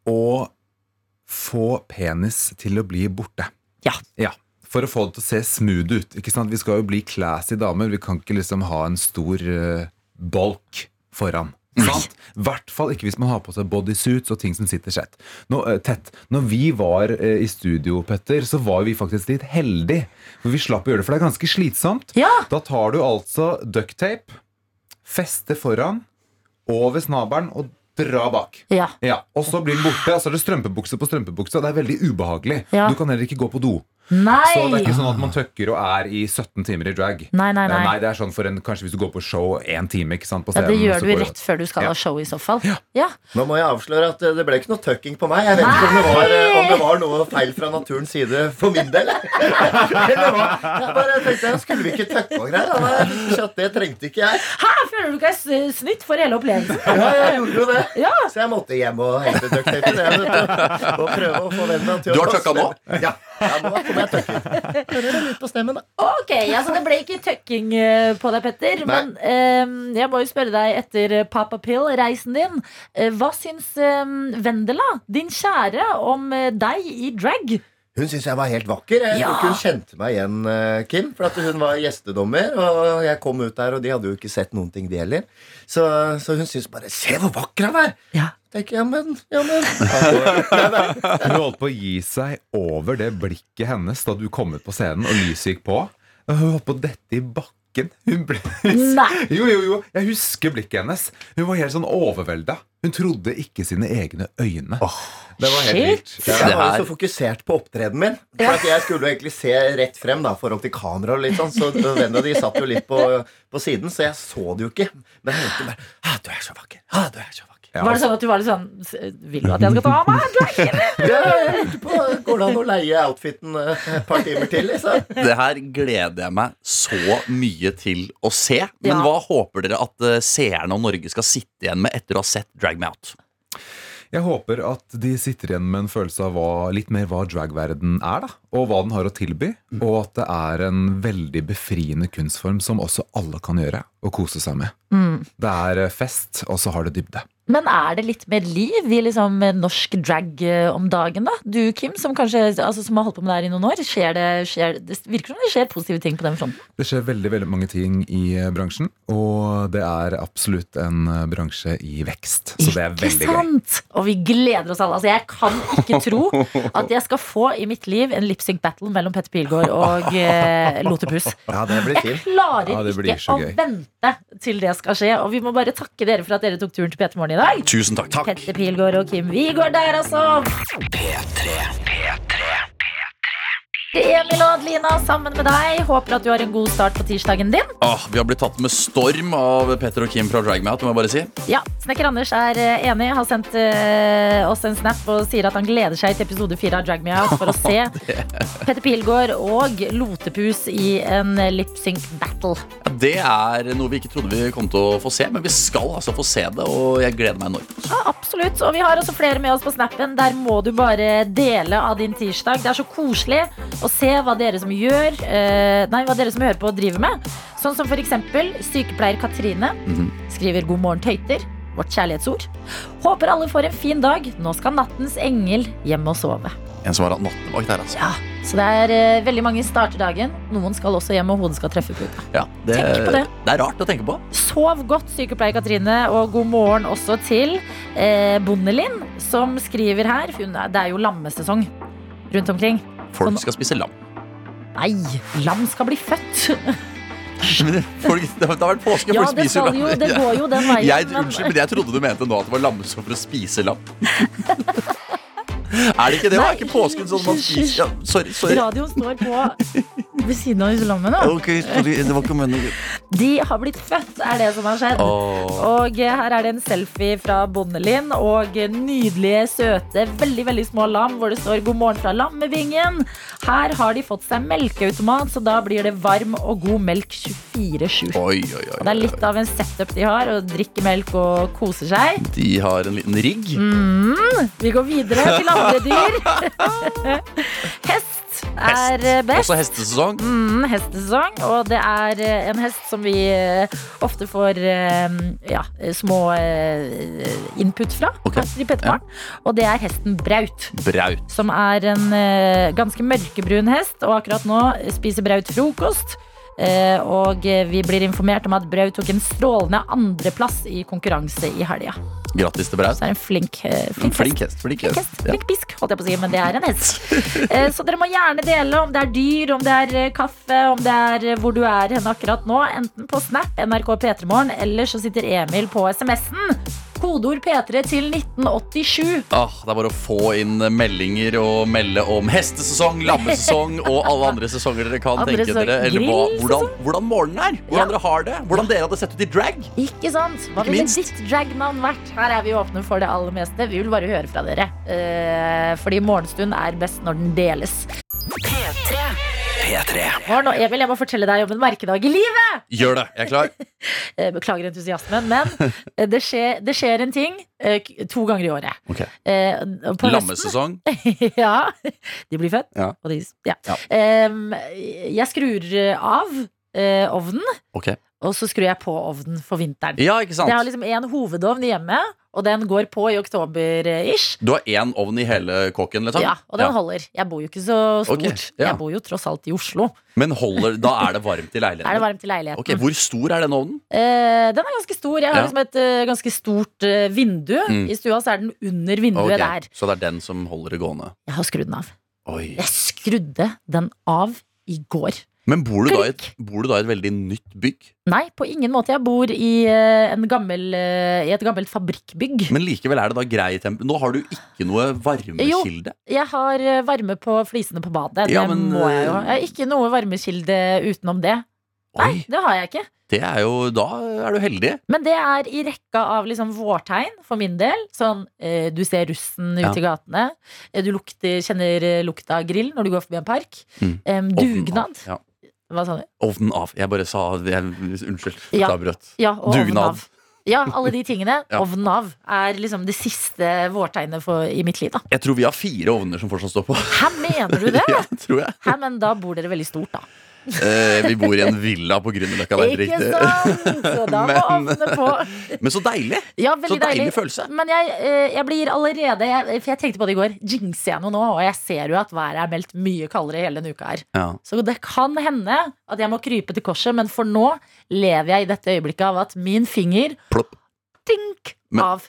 å få penis til å bli borte. Ja. For å få det til å se smooth ut. Ikke sant? Vi skal jo bli classy damer. Vi kan ikke liksom ha en stor eh, bolk foran. Sant? I hvert fall ikke hvis man har på seg bodysuits og ting som sitter sett. Nå, eh, tett. Når vi var eh, i studio, Petter, så var vi faktisk litt heldige. For vi slapp å gjøre det, for det er ganske slitsomt. Da tar du altså ducktape, fester foran, over snabelen og dra bak. Ja. Og så blir den borte, og så er det strømpebukse på strømpebukse. Og det er veldig ubehagelig. Ja. Du kan heller ikke gå på do. Nei! Så det er ikke sånn at man tøkker og er i 17 timer i drag. Nei, nei, nei. det er sånn for en, Kanskje hvis du går på show én time ikke sant, på ja, scenen. det gjør så du går rett før du skal Ja. ha show, i så fall. Ja. Nå må jeg avsløre at eh, det ble ikke noe tucking på meg. Jeg vet ikke om det var, eh, om det var noe feil fra naturens side for min del. Eller hva? Jeg bare tenkte, skulle vi ikke tucke og greier? da? Jeg tenkte at Det trengte ikke jeg. Hæ, føler du ikke jeg er snytt for hele opplevelsen? Ja, jeg gjorde jo det. Så jeg måtte hjem og hente ducktapen. Og prøve å få den til å Du har tucka nå? Ja. ja, nå kommer jeg tucking. Hører det litt på stemmen, da. Ok, altså det ble ikke tøkking eh, på deg, Petter. Nei. Men eh, jeg må jo spørre deg etter eh, Papa Pill-reisen din. Eh, hva syns eh, Vendela, din kjære, om eh, deg i drag? Hun syntes jeg var helt vakker. Jeg tror ikke hun kjente meg igjen, eh, Kim. For at hun var gjestedommer, og jeg kom ut der, og de hadde jo ikke sett noen ting, de heller. Så, så hun syntes bare 'Se hvor vakker han er!' Tenker, ja, men, ja, men. Hun holdt på å gi seg over det blikket hennes da du kom ut på scenen og lyset gikk på. Hun holdt på å dette i bakken. Hun ble Jo, jo, jo. Jeg husker blikket hennes. Hun var helt sånn overvelda. Hun trodde ikke sine egne øyne. Det var helt vilt. Jeg var jo så fokusert på opptredenen min. For at Jeg skulle jo egentlig se rett frem da, forhold til kamera og litt sånn, så vennene de satt jo litt på, på siden, så jeg så det jo ikke. Men jeg tenkte bare ah, du er så vakker. Ah, du er så vakker. Var det sånn at du var litt sånn "S- Vil du at jeg skal ta av meg? Du er ikke det!" Ja, jeg lurte på Går det an å leie outfiten eh, et par timer til, liksom? Det her gleder jeg meg så mye til å se. Men Ja. hva håper dere at eh, seerne og Norge skal sitte igjen med etter å ha sett Drag Me Out? Jeg håper at de sitter igjen med en følelse av hva, litt mer hva dragverden er, da. Og hva den har å tilby. Og at det er en veldig befriende kunstform som også alle kan gjøre og kose seg med. Mm. Det er eh, fest, og så har det dybde. Men er det litt mer liv i liksom norsk drag eh, om dagen, da? Du, Kim, som kanskje altså, som har holdt på med det her i noen år. Skjer det, skjer, det virker som det skjer positive ting på den fronten. Det skjer veldig veldig mange ting i eh, bransjen, og det er absolutt en eh, bransje i vekst. Så det er veldig ikke gøy. sant? Og vi gleder oss alle. Altså, jeg kan ikke tro at jeg skal få i mitt liv en lipsync battle mellom Petter Pilgaard og eh, Lotepus. Ja, det blir Jeg fint. klarer Ja, det blir ikke så å gøy. vente til det skal skje. Og vi må bare takke dere for at dere tok turen til P3 Morgen i dag. Tusen takk. Petter Pilgaard og Kim Wigård der, altså. Emil og Adelina sammen med deg. Håper at du har en god start på tirsdagen din. Åh, vi har blitt tatt med storm av Petter og Kim fra Drag Me Out, må jeg bare si. Ja, Snekker Anders er eh, enig. Har sendt eh, oss en snap og sier at han gleder seg til episode fire av Drag Me Out for å se Petter Pilgaard og Lotepus i en lipsync battle. Ja, Det er noe vi ikke trodde vi kom til å få se, men vi skal altså få se det, og jeg gleder meg enormt. Ja, absolutt. Og vi har også flere med oss på snappen. Der må du bare dele av din tirsdag. Det er så koselig å se hva dere som gjør eh, Nei, hva dere som hører på, driver med. Sånn som for eksempel sykepleier Katrine. Mhm. Skriver 'God morgen, tøyter'. Vårt kjærlighetsord. Håper alle får en fin dag. Nå skal nattens engel hjem og sove. En som har hatt nattevakt her, altså. Ja, Så det er eh, veldig mange starter dagen. Noen skal også hjem, og hodet skal treffe puta. Ja, det, Tenk på det. det er rart å tenke på. Sov godt, sykepleier Katrine, og god morgen også til eh, Bondelin, som skriver her. for Hun er, det er jo lammesesong rundt omkring. Folk skal spise lam. Nei, lam skal bli født! Men Folk, det har vært påske, Ja, folk det spiser skal jo- det går jo den veien, Jeg, men- unnskyld, men jeg trodde du mente nå at det var lammesår for å spise lam. er det ikke det? er ikke påsken sånn man spiser ja, Sorry. sorry. Radioen står på ved siden av lammene. Ok, sorry, det var ikke meningen. De har blitt født, er det som har skjedd. Åh. Og eh, her er det en selfie fra Bondelin og nydelige, søte, veldig veldig små lam hvor det står 'God morgen fra lammevingen'. Her har de fått seg melkeautomat, så da blir det varm og god melk 24-7. Oi, oi, oi, Og Det er litt av en setup de har, og drikker melk og koser seg. De har en liten rigg. Mm, vi går videre til andre dyr. Hest er eh, best. Også hestesesong. Mm, hestesesong. Og det er eh, en hest som vi eh, ofte får eh, ja, små eh, input fra. i Petter Morgen. Og det er hesten Braut. Braut. Som er en eh, ganske mørkebrun hest, og akkurat nå spiser Braut frokost. Eh, og eh, vi blir informert om at Braut tok en strålende andreplass i konkurranse i helga. Grattis til Braut. Så er det en flink, eh, En flink, flink hest. Flink hest. Ja. Flink pisk, holdt jeg på å si, men det er en hest. Eh, Så dere må gjerne dele om det er dyr, om det er eh, kaffe, om det er eh, hvor du er hen akkurat nå. Enten på Snap, NRK P3morgen, eller så sitter Emil på SMS-en. Kodeord P3 til 1987. Ah, det er bare å få inn meldinger og melde om hestesesong, lammesesong og alle andre sesonger dere kan Andre tenke dere. sesong. Eller hva, Grillsesong. hvordan, hvordan morgenen er. Hvordan dere har det. Hvordan dere hadde sett ut i drag. Ikke sant? Hva Ikke ville minst. ditt dragman vært? Her er vi åpne for det aller meste. Vi vil bare høre fra dere. Eh, Fordi morgenstund er best når den deles. P3. Morgen og Emil, jeg må fortelle deg om en merkedag i livet! Gjør det. Jeg er klar. Eh, Beklager entusiasmen, men eh, det skjer, det skjer en ting eh, k- to ganger i året. Ok. Eh, på Lammesesong. høsten- ja. De blir født. Ja. Og de, ja. Ja. Em, jeg skrur av eh, ovnen, Ok. og så skrur jeg på ovnen for vinteren. Ja, ikke sant? Jeg har liksom en hovedovn hjemme, og den går på i oktober-ish. Du har én ovn i hele kåken, liksom? Ja, og den Ja. holder. Jeg bor jo ikke så stort. Ok, ja. Jeg bor jo tross alt i Oslo. Men holder, da er det varmt i leiligheten? Er det varmt i leiligheten? Ok, Hvor stor er den ovnen? Eh, den er ganske stor. Jeg har Ja. liksom et eh, ganske stort eh, vindu. Mm. I stua så er den under vinduet Ok, der. Så det er den som holder det gående? Jeg har skrudd den av. Oi. Jeg skrudde den av i går. Men bor du, da i et, bor du da i et veldig nytt bygg? Nei, på ingen måte. Jeg bor i, eh, en gammel, eh, i et gammelt fabrikkbygg. Men likevel er det da grei temp Nå har du ikke noe varmekilde. jeg har eh, varme på flisene på badet. Ja, det men, må jeg jo. eh, Jeg har ikke noe varmekilde utenom det. Nei, det har jeg ikke. Det er jo, Da er du heldig. Men det er i rekka av liksom vårtegn for min del. Sånn eh, du ser russen ute Ja. i gatene. Eh, Du lukter, kjenner eh, lukta av grill når du går forbi en park. Mm. Em, Ovnen dugnad. av, Ja. Hva sa du? Ovnen av. Jeg bare sa jeg, Unnskyld. Ja. Da brøt. Ja, og ovnen Dugnad. av. Ja, alle de tingene. Ja. Ovnen av er liksom det siste vårtegnet for, i mitt liv, da. Jeg tror vi har fire ovner som fortsatt står på. Hæ, mener du det? ja, tror jeg. Hæ, men da bor dere veldig stort, da. Eh, vi bor i en villa på Grünerløkka. det er helt Ikke riktig. sant? Så da må Men- ovnene på. Men så deilig! Ja, veldig så deilig, følelse. Men jeg, eh, jeg blir allerede jeg, For jeg tenkte på det i går. Jinxer jeg noe nå? Og jeg ser jo at været er meldt mye kaldere hele denne uka her. Ja. Så det kan hende at jeg må krype til korset, men for nå lever jeg i dette øyeblikket av at min finger Plopp. Dink! Men- Av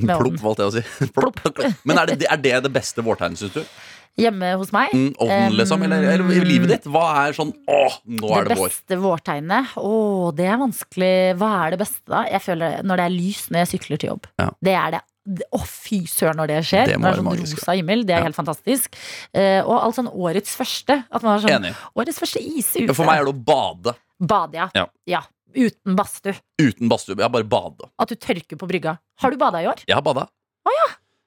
med Plopp, ovnen. valgte jeg å si. Plopp. Men er det, er det det beste vårtegnet, syns du? Hjemme hos meg. Mm, ovnen, Em, liksom? Eller, eller i livet ditt? Hva er sånn åh, nå er det vår? beste vårtegnet. Å, det er vanskelig. Hva er det beste, da? Jeg føler Når det er lys når jeg sykler til jobb. Ja. Det er det. det- Å, fy søren når det skjer. Det Det, må det er være sånn magisk, rosa himmel. Det er helt fantastisk. Eh, og alt sånn årets første. At man har sånn Enig. Årets første is ute. For meg er det å bade. Bade, ja. Ja. ja. Uten badstue. Uten badstue. Jeg bare bade. At du tørker på brygga. Har du bada i år? Jeg har bada.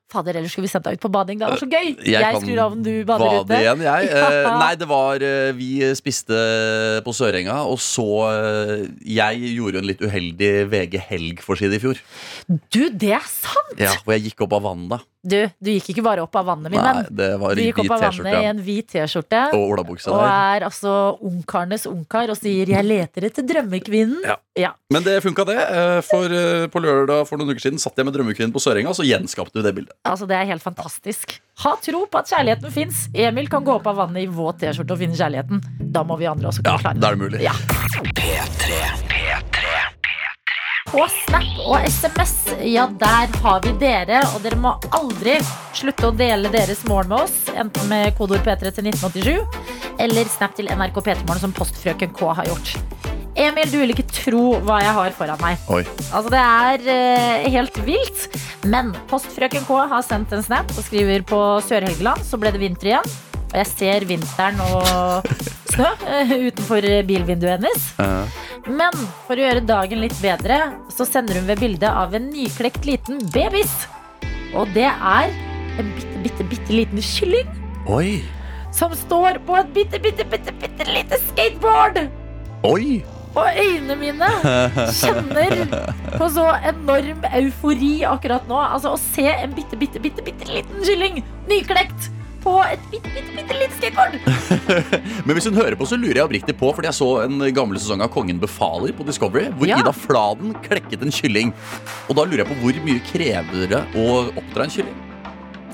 Fader, ellers skulle vi sendt deg ut på bading. Det var så gøy! Jeg Jeg, kan skrur av den, du bader ute. igjen, jeg. Eh, Ja. Nei, det var eh, Vi spiste på Sørenga, og så eh, Jeg gjorde en litt uheldig VG Helg-forside i fjor. Du, det er sant! Ja, Hvor jeg gikk opp av vannet. Du, du gikk ikke bare opp av vannet, min Nei, venn. det var Du i gikk opp hvit av vannet i T-skjorte. en hvit T-skjorte. Og olabuksa Og der. er altså ungkarenes ungkar og sier 'jeg leter etter drømmekvinnen'. Ja. Ja. Men det funka, det. eh, For eh, på lørdag for noen uker siden satt jeg med Drømmekvinnen på Sørenga, og så gjenskapte vi det bildet. Altså, det er helt fantastisk. Ha tro på at kjærligheten fins. Emil kan gå opp av vannet i våt T-skjorte og finne kjærligheten. Da må vi andre også kunne klare Da er det mulig. Ja. På Snap og SMS, ja, der har vi dere. Og dere må aldri slutte å dele deres morgen med oss. Enten med kodeord P3 til 1987 eller Snap til NRK P3morgen, som postfrøken K har gjort. Emil, du vil ikke tro hva jeg har foran meg. Oi. Altså, det er eh, helt vilt. Men postfrøken K har sendt en snap og skriver på Sør-Helgeland så ble det vinter igjen. Og jeg ser vinteren og snø eh, utenfor bilvinduet hennes. Men for å gjøre dagen litt bedre, så sender hun ved bildet av en nyklekt liten babys. Og det er en bitte, bitte, bitte liten kylling Oi. som står på et bitte, bitte, bitte, bitte lite skateboard. Oi. Og øynene mine kjenner på så enorm eufori akkurat nå. Altså Å se en bitte, bitte, bitte, bitte liten kylling nyklekt på et bitte, bitte, bitte lite skateboard. Men hvis hun hører på, så lurer jeg oppriktig på, fordi jeg så en gammel sesong av Kongen befaler på Discovery, hvor Ja. Ida Fladen klekket en kylling. Og da lurer jeg på hvor mye krever det å oppdra en kylling?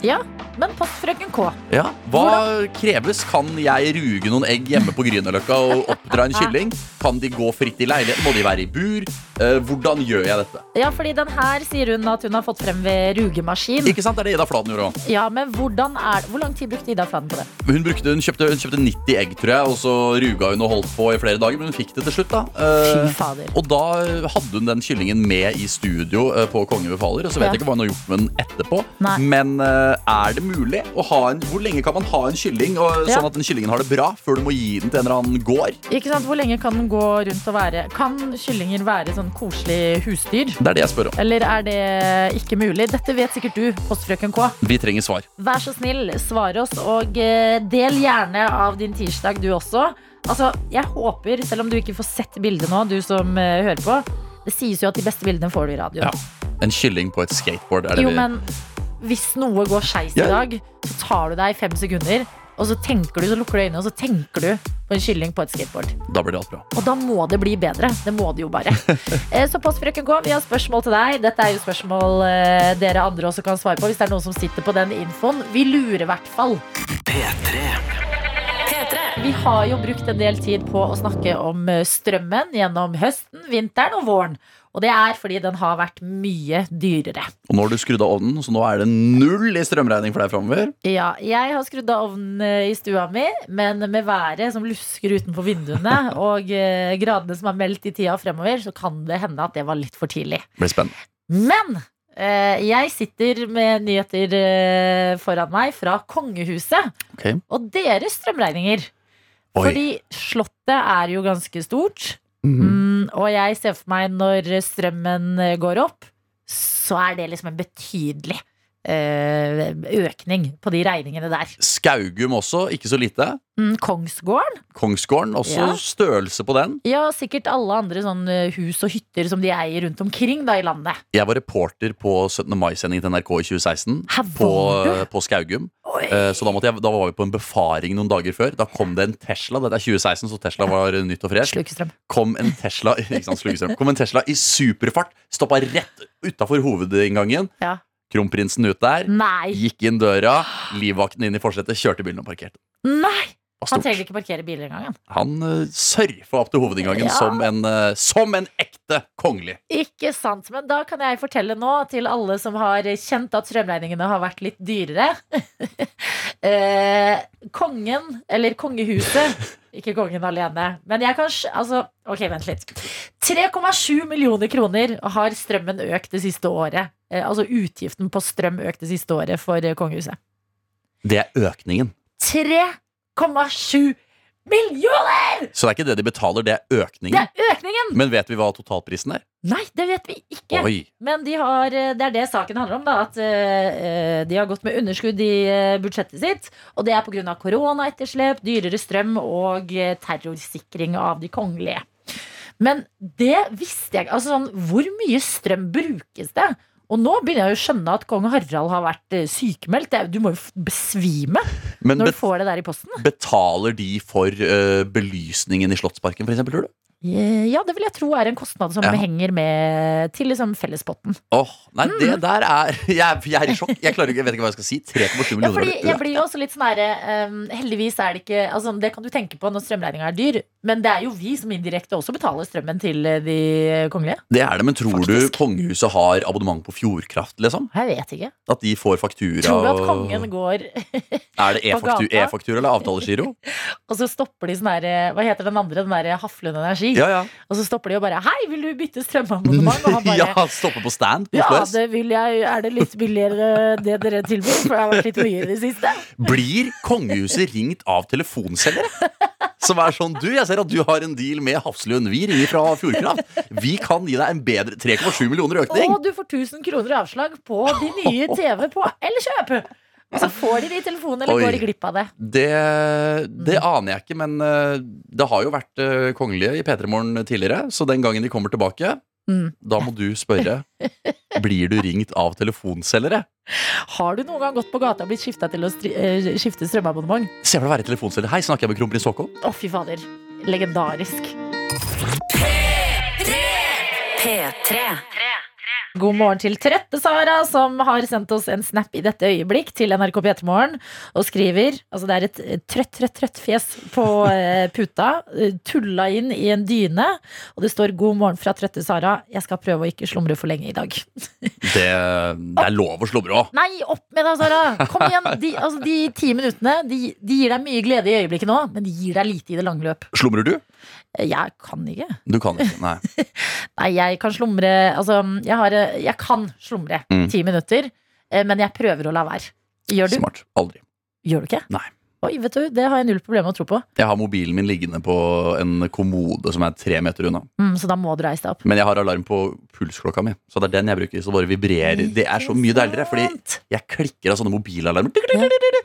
Ja, men postfrøken K. Ja, Hva kreves? Kan jeg ruge noen egg hjemme på Grünerløkka og oppdra en kylling? Kan de gå fritt i leiligheten? Må de være i bur? Eh, hvordan gjør jeg dette? Ja, fordi den her sier hun at hun har fått frem ved rugemaskin. Ikke sant, Det er det Ida Fladen gjorde òg. Ja, men hvordan er det? Hvor lang tid brukte Ida Fladen på det? Hun, brukte- hun, kjøpte- hun kjøpte 90 egg, tror jeg, og så ruga hun og holdt på i flere dager, men hun fikk det til slutt, da. Eh, Fy fader. og da hadde hun den kyllingen med i studio eh, på Kongen befaler, og så Ja. vet jeg ikke hva hun har gjort med den etterpå. Nei. Men eh, er det mulig å ha en Hvor lenge kan man ha en kylling og, Ja. sånn at den kyllingen har det bra, før du må gi den til en eller annen gård? Ikke sant, Hvor lenge kan den gå rundt og være Kan kyllinger være sånn koselig husdyr? Det er det jeg spør om. Eller er det ikke mulig? Dette vet sikkert du, postfrøken K. Vi trenger svar. Vær så snill, svar oss, og eh, del gjerne av din tirsdag, du også. Altså, jeg håper, selv om du ikke får sett bildet nå, du som eh, hører på Det sies jo at de beste bildene får du i radio. Ja. En kylling på et skateboard. Er det Jo, vi- men hvis noe går skeis i Ja. dag, så tar du deg fem sekunder, og så tenker du, så lukker du øynene, og så tenker du på en kylling på et skateboard. Da blir det alt bra. Og da må det bli bedre. Det må det jo bare. Eh, Så postfrøken K, vi har spørsmål til deg. Dette er jo spørsmål eh, dere andre også kan svare på, hvis det er noen som sitter på den infoen. Vi lurer i hvert fall. P3. Vi har jo brukt en del tid på å snakke om eh, strømmen gjennom høsten, vinteren og våren. Og det er fordi den har vært mye dyrere. Og nå har du skrudd av ovnen, så nå er det null i strømregning for deg framover. Ja, jeg har skrudd av ovnen eh, i stua mi, men med været som lusker utenfor vinduene og eh, gradene som er meldt i tida fremover, så kan det hende at det var litt for tidlig. Blir spennende. Men eh, jeg sitter med nyheter eh, foran meg fra kongehuset Ok. og deres strømregninger. Oi. Mhm. Fordi slottet er jo ganske stort, mm, og jeg ser for meg når strømmen eh, går opp, så er det liksom en betydelig eh, økning på de regningene der. Skaugum også, ikke så lite. Mm, Kongsgården? Kongsgården, også Ja. størrelse på den. Ja, sikkert alle andre sånn eh, hus og hytter som de eier rundt omkring da i landet. Jeg var reporter på 17. mai-sendingen til NRK i 2016. på, på Skaugum. Eh, Så da, måtte jeg, da var vi på en befaring noen dager før. Da kom det en Tesla. Dette er 2016, så Tesla var nytt og fresh. Kom en Tesla, ikke sant, slukkestrøm. Kom en Tesla i superfart. Stoppa rett utafor hovedinngangen. Ja. Kronprinsen ut der. Nei. Gikk inn døra. Livvakten inn i forsetet. Kjørte bilen og parkerte. Nei! Og Han stort. trenger ikke parkere biler engang. han. Han uh, surfa opp til hovedinngangen Ja. som, en, eh, som en ekte kongelig. Ikke sant, men da kan jeg fortelle nå til alle som har kjent at strømregningene har vært litt dyrere. eh, kongen, eller kongehuset, ikke kongen alene, men jeg kan sj- Altså, ok, vent litt. 3,7 millioner kroner har strømmen økt det siste året. Eh, altså utgiften på strøm økt det siste året for eh, kongehuset. Det er økningen. 3,7 millioner! Så det er ikke det de betaler, det er Det økningen. er økningen! Men vet vi hva totalprisen er? Nei, det vet vi ikke. Oi. Men de har, eh, det er det saken handler om. Da, at eh, de har gått med underskudd i eh, budsjettet sitt. Og det er pga. koronaetterslep, dyrere strøm og eh, terrorsikring av de kongelige. Men det visste jeg ikke. Altså, sånn, hvor mye strøm brukes det? Og nå begynner jeg jo å skjønne at kong Harald har vært eh, sykemeldt. Det er- Du må jo f- besvime Men når bet- du får det der i posten. Betaler de for eh, belysningen i Slottsparken, f.eks., tror du? Eh, Ja, det vil jeg tro er en kostnad som Ja. henger med til liksom fellespotten. Åh, Nei, Mm. det der er jeg, er- jeg er i sjokk. Jeg, klarer ikke, jeg vet ikke hva jeg skal si. 3,7 Ja, millioner. fordi for det. jeg blir jo også litt sånn herre ehm, Heldigvis er det ikke altså, Det kan du tenke på når strømregninga er dyr, men det er jo vi som indirekte også betaler strømmen til eh, de kongelige. det er det, men tror du kongehuset har abonnement på Fjordkraft, liksom? Jeg vet ikke. At de får faktura Tror du at og- kongen går Er det på e-faktu- gata? e-faktura eller avtalegiro? Og så stopper de sånn herre Hva heter den andre? Den derre Haflund Energi? Ja, ja. Og så stopper de og bare Hei, vil du bytte strømabonnement? Og han bare ja, stoppe på stand på ja, Oslo S. det vil jeg. Er det litt billigere det dere tilbyr? For det har vært litt mye i det siste. Blir kongehuset ringt av telefonselgere? Som er sånn, du, jeg ser at du har en deal med Hafslund. Vi ringer fra Fjordkraft. Vi kan gi deg en bedre 3,7 millioner økning. Og du får 1000 kroner avslag på de nye TV på Elkjøp! Og så får de det i telefonen, eller Oi. går de glipp av det. Det, det aner jeg ikke, men eh, det har jo vært eh, kongelige i P3 Morgen tidligere. Så den gangen de kommer tilbake, Mm. da må du spørre Blir du ringt av telefonselgere. Har du noen gang gått på gata og blitt skifta til å stri eh, skifte strømabonnement? Se for deg å være telefonselger. Hei, snakker jeg med kronprins Haakon? Å, fy fader. Legendarisk. P3. God morgen til trette Sara, som har sendt oss en snap i dette øyeblikk til NRK P3morgen og skriver Altså, det er et eh, trøtt, trøtt, trøtt fjes på eh, puta, eh, tulla inn i en dyne, og det står 'God morgen fra trøtte Sara'. Jeg skal prøve å ikke slumre for lenge i dag. Det, det er lov å slumre òg. Nei, opp med deg, Sara! Kom igjen! De, altså, de ti minuttene de, de gir deg mye glede i øyeblikket nå, men de gir deg lite i det lange løp. Slumrer du? Jeg kan ikke. Du kan ikke. Nei. Nei, jeg kan slumre Altså, jeg, har, jeg kan slumre Mm. ti minutter, eh, men jeg prøver å la være. Gjør du? Smart. Aldri. Gjør du ikke? Nei. Oi, vet du, det har jeg null problem med å tro på. Jeg har mobilen min liggende på en kommode som er tre meter unna. Mm, så da må du reise deg opp. Men jeg har alarm på pulsklokka mi, så det er den jeg bruker. Så bare vibrerer. Det er så mye deiligere, fordi jeg klikker av sånne mobilalarmer.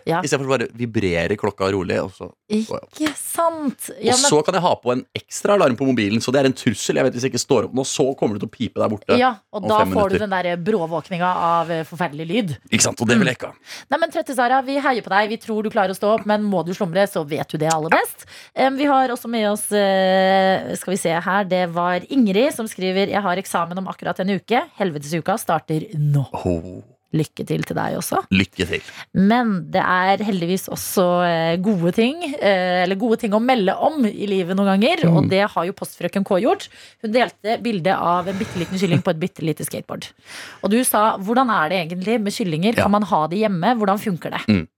Ja. Istedenfor bare vibrerer klokka rolig. Og så, Ikke sant? og så kan jeg ha på en ekstra alarm på mobilen, så det er en trussel. Jeg vet hvis jeg ikke står opp nå, så kommer det til å pipe der borte ja, og om da fem får du minutter. den der bråvåkninga av eh, forferdelig lyd. Ikke sant? Og det vil jeg ikke ha. Nei, men trøtte Sara, vi heier på deg. Vi tror du klarer å stå opp, men må du slumre, så vet du det aller best. Em, Vi har også med oss eh, Skal vi se her. Det var Ingrid som skriver Jeg har eksamen om akkurat en uke. Helvetesuka starter nå. Lykke til til deg også. Lykke til. Men det er heldigvis også eh, gode ting eh, Eller gode ting å melde om i livet noen ganger. Mm. Og det har jo postfrøken K gjort. Hun delte bilde av en bitte liten kylling på et bitte lite skateboard. Og du sa hvordan er det egentlig med kyllinger? Kan man ha det hjemme? Hvordan funker det? Mm.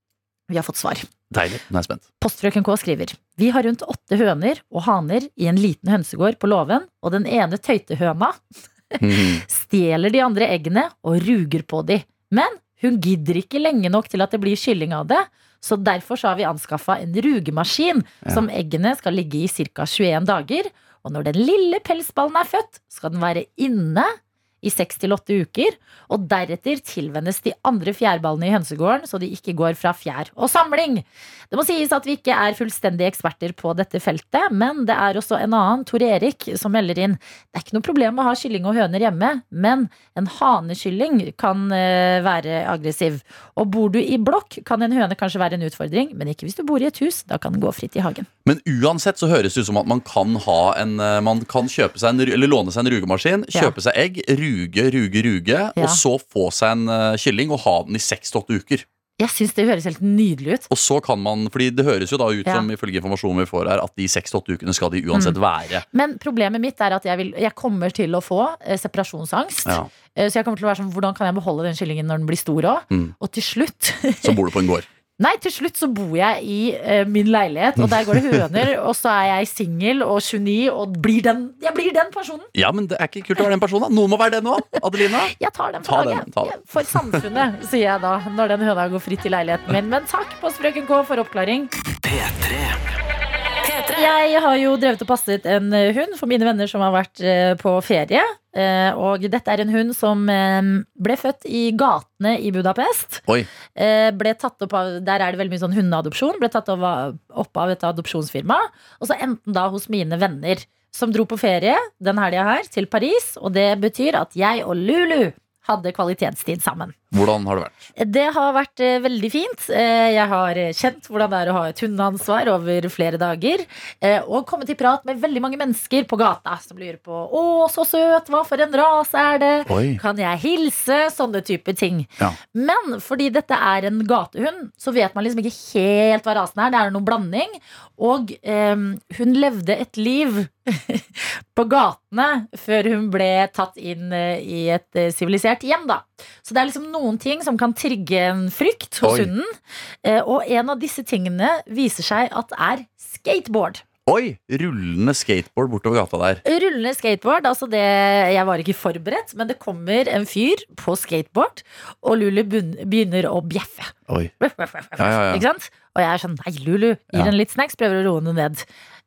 Vi har fått svar. Deilig. Nå er jeg spent. Postfrøken K skriver Vi har rundt åtte høner og haner i en liten hønsegård på låven, og den ene tøytehøna stjeler de andre eggene og ruger på de. Men hun gidder ikke lenge nok til at det blir kylling av det, så derfor så har vi anskaffa en rugemaskin Ja. som eggene skal ligge i ca. 21 dager. Og når den lille pelsballen er født, skal den være inne i seks til åtte uker. Og deretter tilvennes de andre fjærballene i hønsegården, så de ikke går fra fjær og samling. Det må sies at vi ikke er fullstendige eksperter på dette feltet, men det er også en annen, Tor Erik, som melder inn. Det er ikke noe problem å ha kylling og høner hjemme, men en hanekylling kan eh, være aggressiv. Og bor du i blokk, kan en høne kanskje være en utfordring, men ikke hvis du bor i et hus. Da kan den gå fritt i hagen. Men uansett så høres det ut som at man kan ha en eh, Man kan kjøpe seg en, ru- eller låne seg en rugemaskin, Ja. kjøpe seg egg, ruge, ruge, ruge, Ja. og så få seg en eh, kylling og ha den i seks til åtte uker. Jeg syns det høres helt nydelig ut. Og så kan man, fordi det høres jo da ut Ja. Mm. som ifølge informasjonen vi får her, at de seks til åtte ukene skal de uansett være. Men problemet mitt er at jeg, vil, jeg kommer til å få eh, separasjonsangst. Ja. Eh, Så jeg kommer til å være sånn, hvordan kan jeg beholde den kyllingen når den blir stor òg? Mm. Og til slutt Så bor du på en gård. Nei, til slutt så bor jeg i eh, min leilighet, og der går det høner, og så er jeg singel og 29, og blir den, jeg blir den personen. Ja, men det er ikke kult å være den personen. da. Noen må være det nå, Adelina. Jeg tar den Ta for laget. den, ta den. For samfunnet, sier jeg da, når den høna går fritt i leiligheten min. Men takk, Postfrøken K, for oppklaring. Jeg har jo drevet og passet en eh, hund for mine venner som har vært eh, på ferie. Eh, Og dette er en hund som eh, ble født i gatene i Budapest. Oi. Eh, Ble tatt opp av, der er det veldig mye sånn hundeadopsjon. Ble tatt opp av- opp av et adopsjonsfirma. Og så endte den da hos mine venner, som dro på ferie den helga her til Paris. Og det betyr at jeg og Lulu hadde kvalitetstid sammen. Hvordan har det vært? Det har vært eh, veldig fint. Eh, jeg har eh, kjent hvordan det er å ha et hundeansvar over flere dager. eh, og kommet i prat med veldig mange mennesker på gata som lurer på Å, så søt! Hva for en rase er det? Oi. Kan jeg hilse? Sånne typer ting. Ja. Men fordi dette er en gatehund, så vet man liksom ikke helt hva rasen er. Det er noen blanding. Og eh, hun levde et liv på gatene før hun ble tatt inn eh, i et eh, sivilisert hjem, da. Så det er liksom noen ting som kan trigge en frykt hos Oi. hunden. Eh, Og en av disse tingene viser seg at er skateboard. Oi! Rullende skateboard bortover gata der. Rullende skateboard, altså det Jeg var ikke forberedt, men det kommer en fyr på skateboard, og Lulu bunn- begynner å bjeffe. Oi. Ja, ja, ja. Ikke sant? Og jeg er sånn Nei, Lulu, gir Ja. henne litt snacks, prøver å roe henne ned.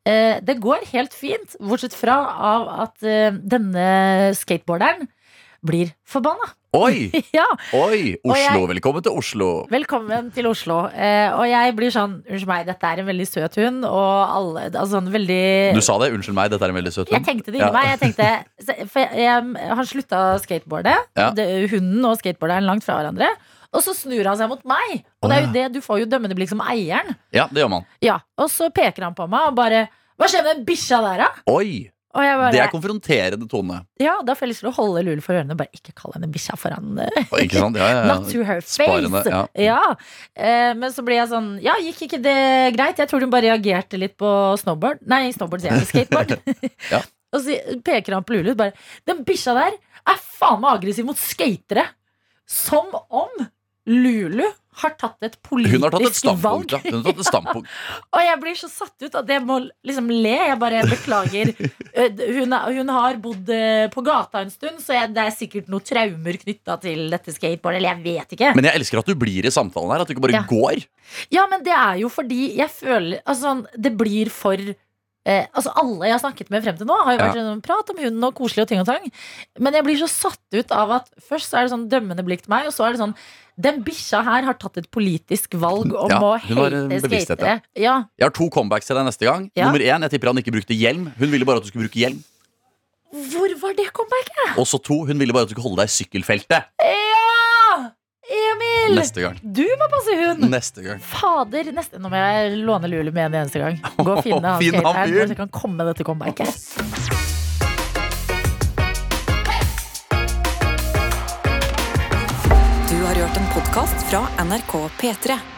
Eh, det går helt fint, bortsett fra av at eh, denne skateboarderen blir forbanna. Oi! ja. Oi! Og jeg- Oslo. Velkommen til Oslo. Velkommen til Oslo. Eh, og jeg blir sånn Unnskyld meg, dette er en veldig søt hund, og alle Altså en veldig Du sa det. Unnskyld meg, dette er en veldig søt hund. jeg tenkte det inni meg. Jeg tenkte, se- for jeg, jeg, han slutta skateboardet. Ja. Det, hunden og skateboarderen er langt fra hverandre. Og så snur han seg mot meg. Og det er jo det, du får jo dømmende blikk som eieren. Ja, det gjør man. Ja, Og så peker han på meg og bare Hva skjer med den bikkja der, da? Oi! Og jeg bare, Det er konfronterende tone. ja, Da får jeg lyst til å holde Lul for ørene. Bare ikke kall henne bikkja foran eh, Oi, Ikke sant? Ja, ja, ja. Not to her face. Sparende, ja. Eh, men så ble jeg sånn Ja, gikk ikke det greit? Jeg tror hun bare reagerte litt på snowboard. Nei, snowboard sier jeg. Skateboard. Ja. Og så peker han på Lulu og bare Den bikkja der er faen meg aggressiv mot skatere! Som om Lulu har tatt et politisk Hun har tatt et valg. standpunkt, ja. Hun har tatt et standpunkt. Og jeg blir så satt ut at jeg må liksom le. Jeg bare beklager. Eh, Hun, er- hun har bodd eh, på gata en stund, så jeg, det er sikkert noen traumer knytta til dette skateboardet. Eller jeg vet ikke. Men jeg elsker at du blir i samtalen her. At du ikke bare Ja. går. Ja, men det er jo fordi jeg føler Altså, sånn, det blir for eh, altså Alle jeg har snakket med frem til nå, har jo vært Ja. sånn prat om hunden og koselig og ting og tang. Men jeg blir så satt ut av at først så er det sånn dømmende blikk til meg, og så er det sånn Den bikkja her har tatt et politisk valg om Ja, å hun har en hate bevissthet, ja. skatere. Ja. Jeg har to comebacks til deg neste gang. Ja. Nummer én, jeg tipper han ikke brukte hjelm. Hun ville bare at du skulle bruke hjelm. Hvor var det comebacket? Og så to, hun ville bare at du skulle holde deg i sykkelfeltet. Ja! Emil! Neste gang. Du må passe hund! Neste gang. Fader, neste, nå må jeg låne Lulu med en eneste gang. Gå og finne han Finn han skateren, fyren. så jeg kan komme med dette comebacket. Du har har hørt en podkast fra NRK P3.